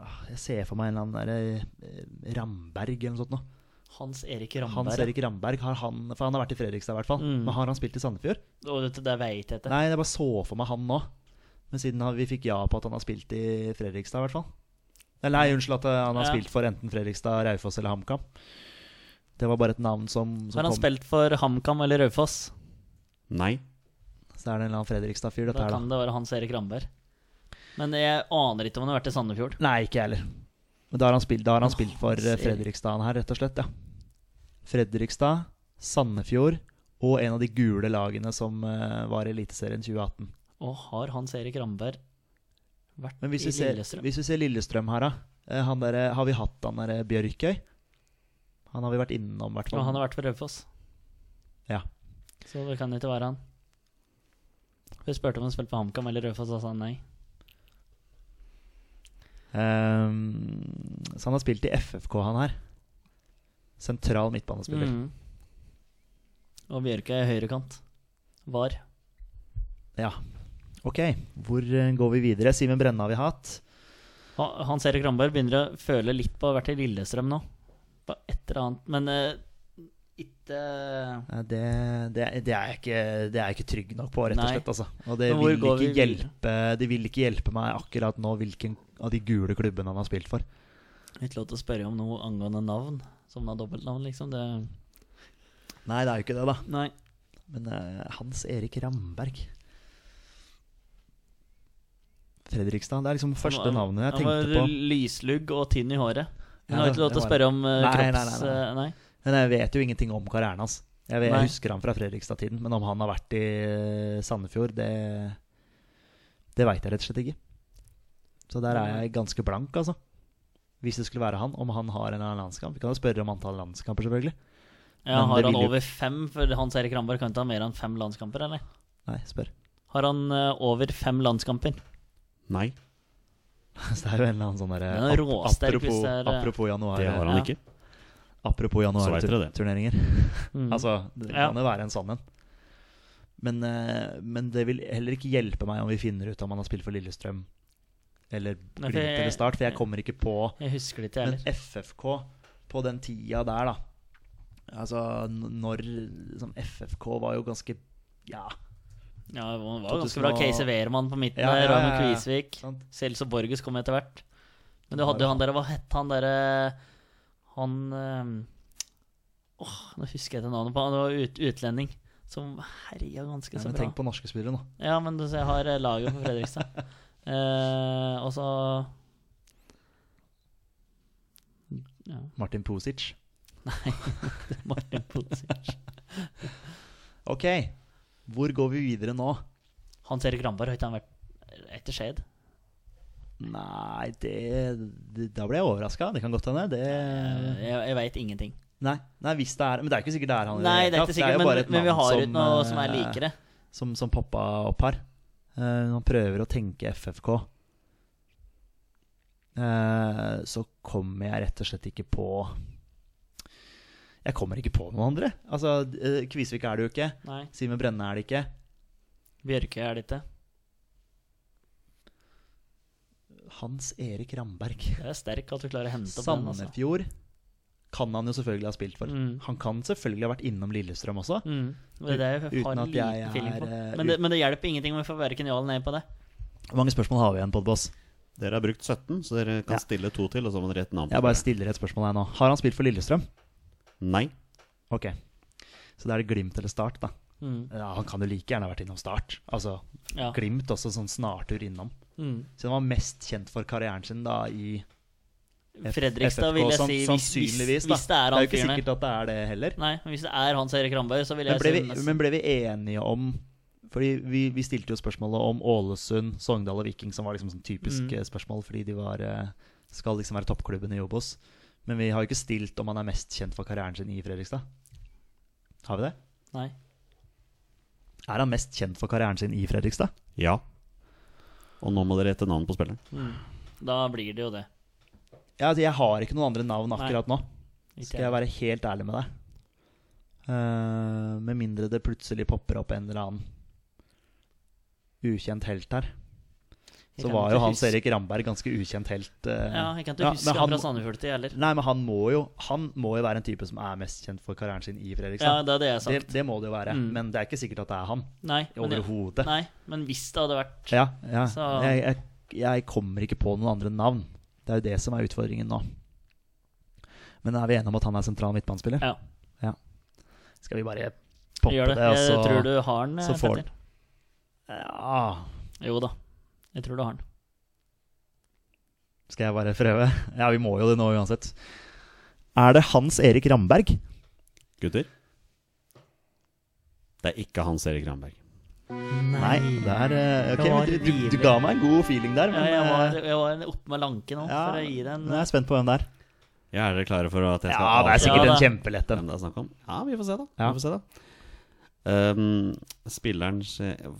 Speaker 2: ah, Jeg ser for meg en eller annen derre eh, Ramberg eller noe sånt noe.
Speaker 3: Hans Erik
Speaker 2: Hans
Speaker 3: Ramberg.
Speaker 2: Erik Ramberg, har han, for han har vært i Fredrikstad i hvert fall.
Speaker 3: Mm.
Speaker 2: Men har han spilt i Sandefjord?
Speaker 3: Og dette der veit jeg ikke.
Speaker 2: Nei, jeg bare så for meg han nå. Men siden han- vi fikk ja på at han har spilt i Fredrikstad, i hvert fall. Eller nei, unnskyld at eh, han har
Speaker 3: Ja.
Speaker 2: spilt for enten Fredrikstad, Raufoss eller HamKam. Det var bare et navn som, som
Speaker 3: Har han
Speaker 2: kom.
Speaker 3: spilt for HamKam eller Raufoss?
Speaker 1: Nei.
Speaker 2: Så er det en eller annen Fredrikstad-fyr, dette
Speaker 3: Da
Speaker 2: her, da.
Speaker 3: kan det være Hans Erik Ramberg. Men jeg aner ikke om han har vært i Sandefjord.
Speaker 2: Nei, ikke jeg heller. Men da har han spilt, da har han
Speaker 3: Åh,
Speaker 2: spilt for eh,
Speaker 3: ser.
Speaker 2: Fredrikstad han her, rett og slett, ja. Fredrikstad, Sandefjord og en av de gule lagene som eh, var i Eliteserien 2018.
Speaker 3: Og har Hans Erik Ramberg vært
Speaker 2: Men hvis
Speaker 3: i
Speaker 2: vi, ser,
Speaker 3: Lillestrøm?
Speaker 2: hvis vi ser Lillestrøm her, da. eh, Han der, har vi hatt han derre Bjørkøy? Han har vi vært innom, i hvert
Speaker 3: Og
Speaker 2: fall.
Speaker 3: han har vært for Raufoss.
Speaker 2: Ja.
Speaker 3: Så det kan ikke være han. Vi spurte om han spilte på HamKam eller Raufoss, og sa han nei.
Speaker 2: Ehm, så han har spilt i FFK, han her. Sentral midtbanespiller.
Speaker 3: Mm. Og Bjørkøy er høyrekant. Var.
Speaker 2: Ja. Ok, hvor eh, går vi videre? Simen Brenna har vi hatt.
Speaker 3: Han- Hans Erik Ramberg begynner å føle litt på å ha vært i Lillestrøm nå. På et eller annet. Men eh, ikke
Speaker 2: Nei, Det, Eh, det, det, er jeg ikke, det er jeg ikke trygg nok på, rett og
Speaker 3: Nei.
Speaker 2: slett. Altså. Og det
Speaker 3: Men hvor
Speaker 2: vil
Speaker 3: går
Speaker 2: ikke
Speaker 3: vi videre?
Speaker 2: hjelpe Det vil ikke hjelpe meg akkurat nå hvilken av de gule klubbene han har spilt for.
Speaker 3: Ikke lov til å spørre om noe angående navn. Som har dobbeltnavn, liksom. Det,
Speaker 2: Nei, det er jo ikke det, da.
Speaker 3: nei.
Speaker 2: Men eh, Hans Erik Ramberg Fredrikstad. Det er liksom første
Speaker 3: Han var-
Speaker 2: navnet jeg
Speaker 3: Han
Speaker 2: tenkte
Speaker 3: var
Speaker 2: på.
Speaker 3: lyslugg og tynn i håret. Men
Speaker 2: Ja,
Speaker 3: har ikke lov
Speaker 2: det
Speaker 3: til å
Speaker 2: var
Speaker 3: spørre om eh,
Speaker 2: Nei, nei, nei,
Speaker 3: kropps...
Speaker 2: nei.
Speaker 3: eh, Nei.
Speaker 2: Men jeg vet jo ingenting om karrieren hans. Jeg, vet,
Speaker 3: Nei.
Speaker 2: jeg husker han fra Fredrikstad-tiden, men om han har vært i eh, Sandefjord, det, det veit jeg rett og slett ikke. Så der er jeg ganske blank, altså. Hvis det skulle være han, om han har en eller annen landskamp. Vi kan jo spørre om antall landskamper, selvfølgelig.
Speaker 3: Ja, har
Speaker 2: Men
Speaker 3: han
Speaker 2: det vil jo-
Speaker 3: over fem? For Hans Erik Ramberg kan ikke ha mer enn fem landskamper, eller?
Speaker 2: Nei, spør.
Speaker 3: Har han eh, over fem landskamper?
Speaker 1: Nei,
Speaker 2: Så det er jo en eller annen sånn derre
Speaker 3: Den er råsterk hvis
Speaker 2: apropos,
Speaker 3: det er, eh,
Speaker 2: apropos januar.
Speaker 1: det har han ikke.
Speaker 2: Apropos
Speaker 1: Så vet dere det.
Speaker 2: januarturneringer.
Speaker 3: Mm.
Speaker 2: Altså, det
Speaker 3: Ja.
Speaker 2: kan jo være en sånn en. Men, eh, men det vil heller ikke hjelpe meg om vi finner ut om han har spilt for Lillestrøm eller
Speaker 3: Nei, for
Speaker 2: Glimt
Speaker 3: jeg-
Speaker 2: eller Start, for jeg kommer ikke på
Speaker 3: jeg husker det ikke, jeg
Speaker 2: Men
Speaker 3: heller.
Speaker 2: FFK på den tida der, da Altså n- når liksom, FFK var jo ganske Ja,
Speaker 3: Ja, han var ganske
Speaker 2: 2000
Speaker 3: bra.
Speaker 2: og-
Speaker 3: Casey Wehrmann på midten
Speaker 2: Ja,
Speaker 3: der,
Speaker 2: ja, ja,
Speaker 3: Ragnhild
Speaker 2: ja, ja.
Speaker 3: Kvisvik.
Speaker 2: sant?
Speaker 3: Celso Borges kom etter hvert. Men du
Speaker 2: Han
Speaker 3: hadde
Speaker 2: var-
Speaker 3: jo han der, hva het han derre Han eh, Åh, nå husker jeg ikke navnet på han. Det var ut, utlending som herja ganske
Speaker 2: Nei,
Speaker 3: så
Speaker 2: men
Speaker 3: bra.
Speaker 2: tenk på norske spillere nå.
Speaker 3: Ja, men du, ser, jeg har eh, laget på Fredrikstad. eh, og så ja,
Speaker 2: Martin Pusic.
Speaker 3: Martin Pusic.
Speaker 2: Ok, hvor går vi videre nå?
Speaker 3: Hans Erik Ramberg, har ikke han vært etter Skeid?
Speaker 2: Nei, det, det Da ble jeg overraska. Det kan godt hende. Det
Speaker 3: Eh, Jeg, jeg veit ingenting.
Speaker 2: Nei, nei, hvis det er Men det er jo ikke sikkert det er han. i det
Speaker 3: Nei,
Speaker 2: hele
Speaker 3: det er
Speaker 2: tatt.
Speaker 3: ikke sikkert,
Speaker 2: jo
Speaker 3: men,
Speaker 2: bare et
Speaker 3: men vi
Speaker 2: navn
Speaker 3: har ikke noe som er
Speaker 2: eh,
Speaker 3: likere.
Speaker 2: Som, som poppa opp her. Eh, når han prøver å tenke FFK. eh, så kommer jeg rett og slett ikke på Jeg kommer ikke på noen andre. Altså, eh, Kvisvik er det jo ikke.
Speaker 3: Nei,
Speaker 2: Simen Brenne er det ikke.
Speaker 3: Bjørkøy er det ikke.
Speaker 2: Hans Erik Ramberg.
Speaker 3: Det er sterk at du klarer å hente opp den. Altså.
Speaker 2: Sandefjord kan han jo selvfølgelig ha spilt for.
Speaker 3: Mm.
Speaker 2: Han kan selvfølgelig ha vært innom Lillestrøm også.
Speaker 3: Mm. og Det er det jeg
Speaker 2: Uten
Speaker 3: har
Speaker 2: at
Speaker 3: liten
Speaker 2: jeg er,
Speaker 3: feeling på.
Speaker 2: eh,
Speaker 3: Men det, men det hjelper ingenting om vi får verken ja eller nei på det.
Speaker 2: Hvor mange spørsmål har vi igjen, Podboss?
Speaker 1: Dere har brukt 17, så dere kan
Speaker 2: Ja.
Speaker 1: stille to til, og så må dere gjette navn. på
Speaker 2: Jeg bare
Speaker 1: det.
Speaker 2: stiller et spørsmål her nå. Har han spilt for Lillestrøm?
Speaker 1: Nei.
Speaker 2: Ok. Så da er det Glimt eller Start, da.
Speaker 3: Mm.
Speaker 2: Ja, han kan jo like gjerne ha vært innom Start. Altså,
Speaker 3: Ja.
Speaker 2: Glimt også sånn snartur innom.
Speaker 3: Mm.
Speaker 2: Så han var mest kjent for karrieren sin da i F-
Speaker 3: Fredrikstad
Speaker 2: FFK,
Speaker 3: vil jeg
Speaker 2: sånn-
Speaker 3: si hvis, hvis,
Speaker 2: sannsynligvis, da.
Speaker 3: hvis det er
Speaker 2: det er
Speaker 3: han
Speaker 2: jo ikke
Speaker 3: fyren der.
Speaker 2: sikkert at det er det heller.
Speaker 3: Nei, hvis det er Hans Erik Ramberg, så vil
Speaker 2: Men
Speaker 3: jeg
Speaker 2: ble vi,
Speaker 3: si nesten-
Speaker 2: men ble vi enige om Fordi vi, vi stilte jo spørsmålet om Ålesund, Sogndal og Viking, som var liksom sånn typiske
Speaker 3: Mm.
Speaker 2: spørsmål fordi de var eh, skal liksom være toppklubben i Obos. Men vi har jo ikke stilt om han er mest kjent for karrieren sin i Fredrikstad. Har vi det?
Speaker 3: Nei.
Speaker 2: Er han mest kjent for karrieren sin i Fredrikstad?
Speaker 1: Ja. Og nå må dere gjette navnet på spilleren.
Speaker 3: Da blir det jo det.
Speaker 2: Ja, altså, jeg har ikke noen andre navn akkurat nå.
Speaker 3: Ikke
Speaker 2: Skal jeg være helt ærlig med deg. Eh, med mindre det plutselig popper opp en eller annen ukjent helt her.
Speaker 3: Jeg
Speaker 2: Så
Speaker 3: kan
Speaker 2: var
Speaker 3: ikke
Speaker 2: jo Hans
Speaker 3: huske-
Speaker 2: Erik Ramberg ganske ukjent helt. eh,
Speaker 3: Ja, jeg kan ikke
Speaker 2: ja,
Speaker 3: huske
Speaker 2: men
Speaker 3: han,
Speaker 2: han
Speaker 3: fra
Speaker 2: må-
Speaker 3: Sandefjord til heller.
Speaker 2: Nei, men han må jo Han må jo være en type som er mest kjent for karrieren sin i
Speaker 3: Ja,
Speaker 2: Fredrikstad.
Speaker 3: det er det jeg har
Speaker 2: det,
Speaker 3: sagt.
Speaker 2: det må det jo være.
Speaker 3: Mm.
Speaker 2: Men det er ikke sikkert at det er han.
Speaker 3: nei, men,
Speaker 2: Overhodet.
Speaker 3: nei, men hvis det hadde vært
Speaker 2: Ja, ja.
Speaker 3: Så-
Speaker 2: Jeg, jeg, jeg kommer ikke på noen andre navn. Det er jo det som er utfordringen nå. Men er vi enige om at han er sentral midtbanespiller?
Speaker 3: Ja.
Speaker 2: Skal vi bare poppe
Speaker 3: Gjør
Speaker 2: det,
Speaker 3: det.
Speaker 2: og
Speaker 3: Jeg
Speaker 2: så
Speaker 3: tror du har den. eh,
Speaker 2: så får
Speaker 3: Petter.
Speaker 2: ja.
Speaker 3: Jo da. Jeg tror du har den.
Speaker 2: Skal jeg bare prøve? Ja, vi må jo det nå uansett. Er det Hans Erik Ramberg?
Speaker 1: Gutter? Det er ikke Hans Erik Ramberg.
Speaker 2: Nei. det er eh, Ok,
Speaker 3: Det var
Speaker 2: men du, du, du
Speaker 3: rimelig.
Speaker 2: ga meg en god feeling der,
Speaker 3: Ja,
Speaker 2: men
Speaker 3: jeg, var,
Speaker 2: eh,
Speaker 3: jeg var oppe med lanken nå
Speaker 2: ja,
Speaker 3: for å gi eh, deg en
Speaker 2: men jeg er spent på hvem det er.
Speaker 1: Ja, Er dere klare for at jeg skal
Speaker 2: Ja, det er sikkert
Speaker 3: Ja, da.
Speaker 2: en kjempelett en.
Speaker 1: hvem det er snakk om? Ja, vi får se, da.
Speaker 2: Ja.
Speaker 1: Vi får se, da. Ehm, spillerens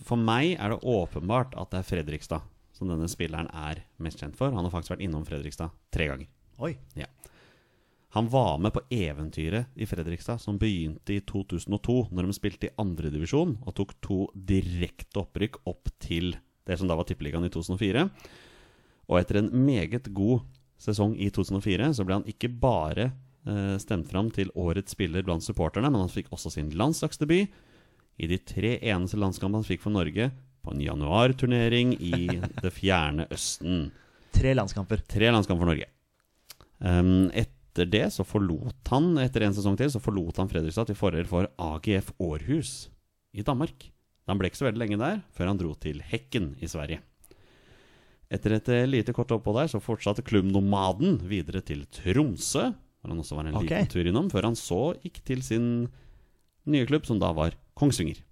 Speaker 1: For meg er det åpenbart at det er Fredrikstad som denne spilleren er mest kjent for. Han har faktisk vært innom Fredrikstad tre ganger.
Speaker 2: Oi.
Speaker 1: Han var med på eventyret i Fredrikstad, som begynte i 2002, når de spilte i andredivisjon og tok to direkte opprykk opp til det som da var Tippeligaen i 2004. Og etter en meget god sesong i 2004 så ble han ikke bare eh, stemt fram til årets spiller blant supporterne, men han fikk også sin landslagsdebut i de tre eneste landskampene han fikk for Norge på en januarturnering i det fjerne Østen.
Speaker 2: Tre landskamper.
Speaker 1: Tre landskamper for Norge. Ehm, etter det så forlot han etter en sesong til så forlot han Fredrikstad til fordel for AGF Århus i Danmark. Han ble ikke så veldig lenge der før han dro til Hekken i Sverige. Etter et eh, lite kort opphold der så fortsatte klubbnomaden videre til Tromsø, hvor han også var en
Speaker 2: Ok.
Speaker 1: liten tur innom, før han så gikk til sin nye klubb, som da var Kongsvinger.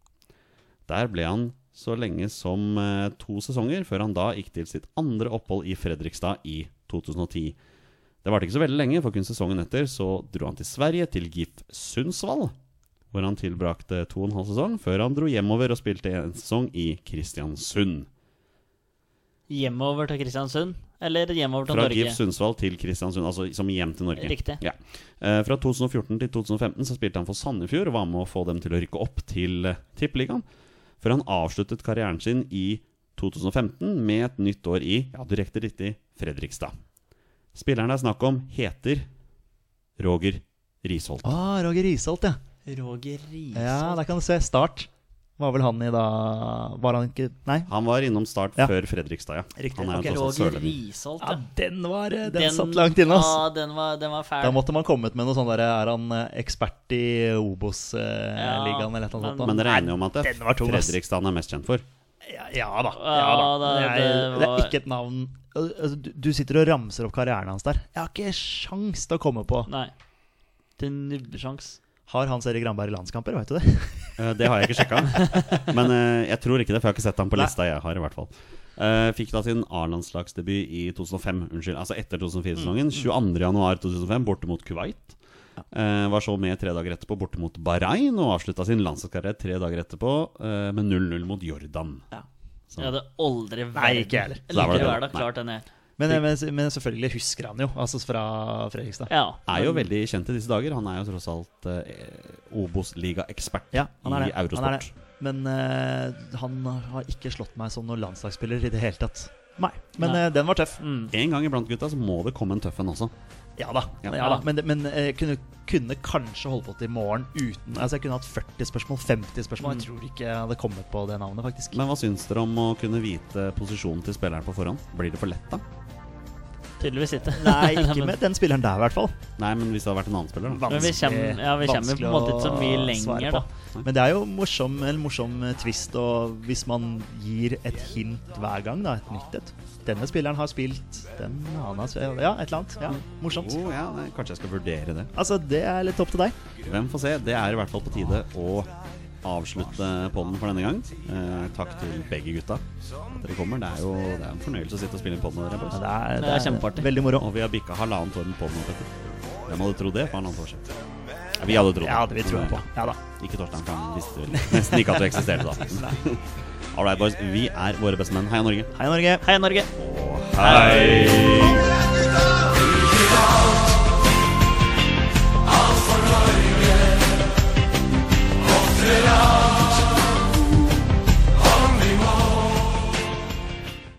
Speaker 1: Der ble han så lenge som eh, to sesonger, før han da gikk til sitt andre opphold i Fredrikstad i 2010. Det varte ikke så veldig lenge, for kun sesongen etter så dro han til Sverige, til GIF Sundsvall, hvor han tilbrakte to og en halv sesong, før han dro hjemover og spilte en sesong i Kristiansund.
Speaker 3: Hjemover til Kristiansund, eller hjemover til
Speaker 1: Fra
Speaker 3: Norge?
Speaker 1: GIF Sundsvall til Kristiansund, altså som hjem til Norge.
Speaker 3: Riktig.
Speaker 1: Ja. Eh, Fra 2014 til 2015 så spilte han for Sandefjord og var med å få dem til å rykke opp til eh, Tippeligaen. Før han avsluttet karrieren sin i 2015 med et nytt år i, ja, du rekte riktig, Fredrikstad. Spilleren det er snakk om, heter Roger Risholt.
Speaker 2: Å, Ah, Roger Risholt, ja.
Speaker 3: Roger Riise.
Speaker 2: Ja, Der kan du se. Start var vel han i da Var han ikke Nei.
Speaker 1: Han var innom Start
Speaker 2: Ja.
Speaker 1: før Fredrikstad, ja.
Speaker 2: Riktig.
Speaker 1: Han er
Speaker 2: Ok,
Speaker 1: jo tross alt
Speaker 3: Roger
Speaker 1: sørlending.
Speaker 3: Risholt,
Speaker 2: Ja,
Speaker 3: ja.
Speaker 2: den var eh, Den, satt langt inne, ass.
Speaker 3: Ja, den var, den var fæl.
Speaker 2: Da måtte man kommet med noe sånn derre Er han eh, ekspert i Obos-ligaen, eller et eller annet sånt? da?
Speaker 1: Men dere er enige om at det
Speaker 2: den var
Speaker 1: er
Speaker 2: tung, ass.
Speaker 1: Fredrikstad han er mest kjent for?
Speaker 2: Ja, ja da. Ja,
Speaker 3: Ja,
Speaker 2: da.
Speaker 3: det-
Speaker 2: Det, er,
Speaker 3: det
Speaker 2: det
Speaker 3: var-
Speaker 2: er ikke et navn Altså, du, du sitter og ramser opp karrieren hans der. Jeg har ikke sjans til å komme på.
Speaker 3: Nei. Til nubbesjans.
Speaker 2: Har Hans Erik Granberg landskamper, veit du det?
Speaker 1: Eh, Det har jeg ikke sjekka. Men eh, jeg tror ikke det, for jeg har ikke sett han på
Speaker 2: Nei.
Speaker 1: lista jeg har. i hvert fall Eh, Fikk da sin A-landslagsdebut i 2005, unnskyld, altså etter 2004-sesongen.
Speaker 2: Mm,
Speaker 1: 22.1.2005, borte mot Kuwait. Eh, var så med tre dager etterpå borte mot Bahrain, og avslutta sin landslagskarriere tre dager etterpå eh, med 0-0 mot Jordan.
Speaker 3: Ja.
Speaker 1: Så-
Speaker 3: Jeg hadde aldri
Speaker 2: Nei, ikke jeg heller.
Speaker 1: Da var det
Speaker 3: Aldri
Speaker 1: det.
Speaker 3: vært
Speaker 1: Nei.
Speaker 3: klart denne.
Speaker 2: Men, men, men selvfølgelig husker han jo, altså fra Fredrikstad.
Speaker 3: Ja.
Speaker 1: Er jo veldig kjent i disse dager. Han er jo tross alt eh, Obos-ligaekspert
Speaker 2: Ja, han
Speaker 1: i
Speaker 2: er det. Han er det.
Speaker 1: Eurosport.
Speaker 2: Men eh, han har ikke slått meg som noen landslagsspiller i det hele tatt. Nei, men
Speaker 3: Nei.
Speaker 2: eh, den var tøff.
Speaker 3: Mm.
Speaker 1: En gang iblant, gutta, så må det komme en tøff en også.
Speaker 2: Ja da.
Speaker 1: Ja.
Speaker 2: Ja, da. Men, det- men eh, kunne, kunne kanskje holdt på til i morgen uten Altså, jeg kunne hatt 40 spørsmål, 50
Speaker 3: Mm.
Speaker 2: spørsmål. Jeg tror ikke jeg hadde kommet på det navnet, faktisk.
Speaker 1: Men hva syns dere om å kunne vite posisjonen til spilleren på forhånd? Blir det for lett, da?
Speaker 3: Tydeligvis ikke.
Speaker 2: Nei, ikke med den spilleren der, i hvert fall.
Speaker 1: Nei, men hvis det hadde vært en annen spiller, da.
Speaker 3: Men vi kommer- ja, vi kommer på en måte ikke så mye
Speaker 2: å
Speaker 3: lenger,
Speaker 2: svare
Speaker 3: da.
Speaker 2: på. Men det er jo morsom, en morsom eh, twist, og hvis man gir et hint hver gang, da, et nytt et Denne spilleren har spilt, den han har spilt Ja, et eller annet. Ja, morsomt.
Speaker 1: Jo, ja, nei, kanskje jeg skal vurdere det.
Speaker 2: Altså, det er litt opp til deg.
Speaker 1: Hvem får se. Det er i hvert fall på tide å avslutte podden for denne gang. Eh, takk til begge gutta at dere kommer. Det er jo det er en fornøyelse å sitte og spille inn podden med dere.
Speaker 2: Ja,
Speaker 1: boys.
Speaker 2: det er,
Speaker 3: Det er kjempeartig.
Speaker 2: Veldig moro.
Speaker 1: Og vi har bikka halvannet år med podden nå, Petter. Hvem hadde trodd det for halvannet år siden? Ja, vi hadde trodd
Speaker 2: Ja, det vil jeg tro på. Ja da.
Speaker 1: Ikke Torstein, for han visste vel nesten ikke at det eksisterte da. All right, boys. Vi er våre beste menn. Heia Norge.
Speaker 2: Hei, Norge.
Speaker 3: Hei, Norge.
Speaker 1: Hei!
Speaker 6: All right, you know.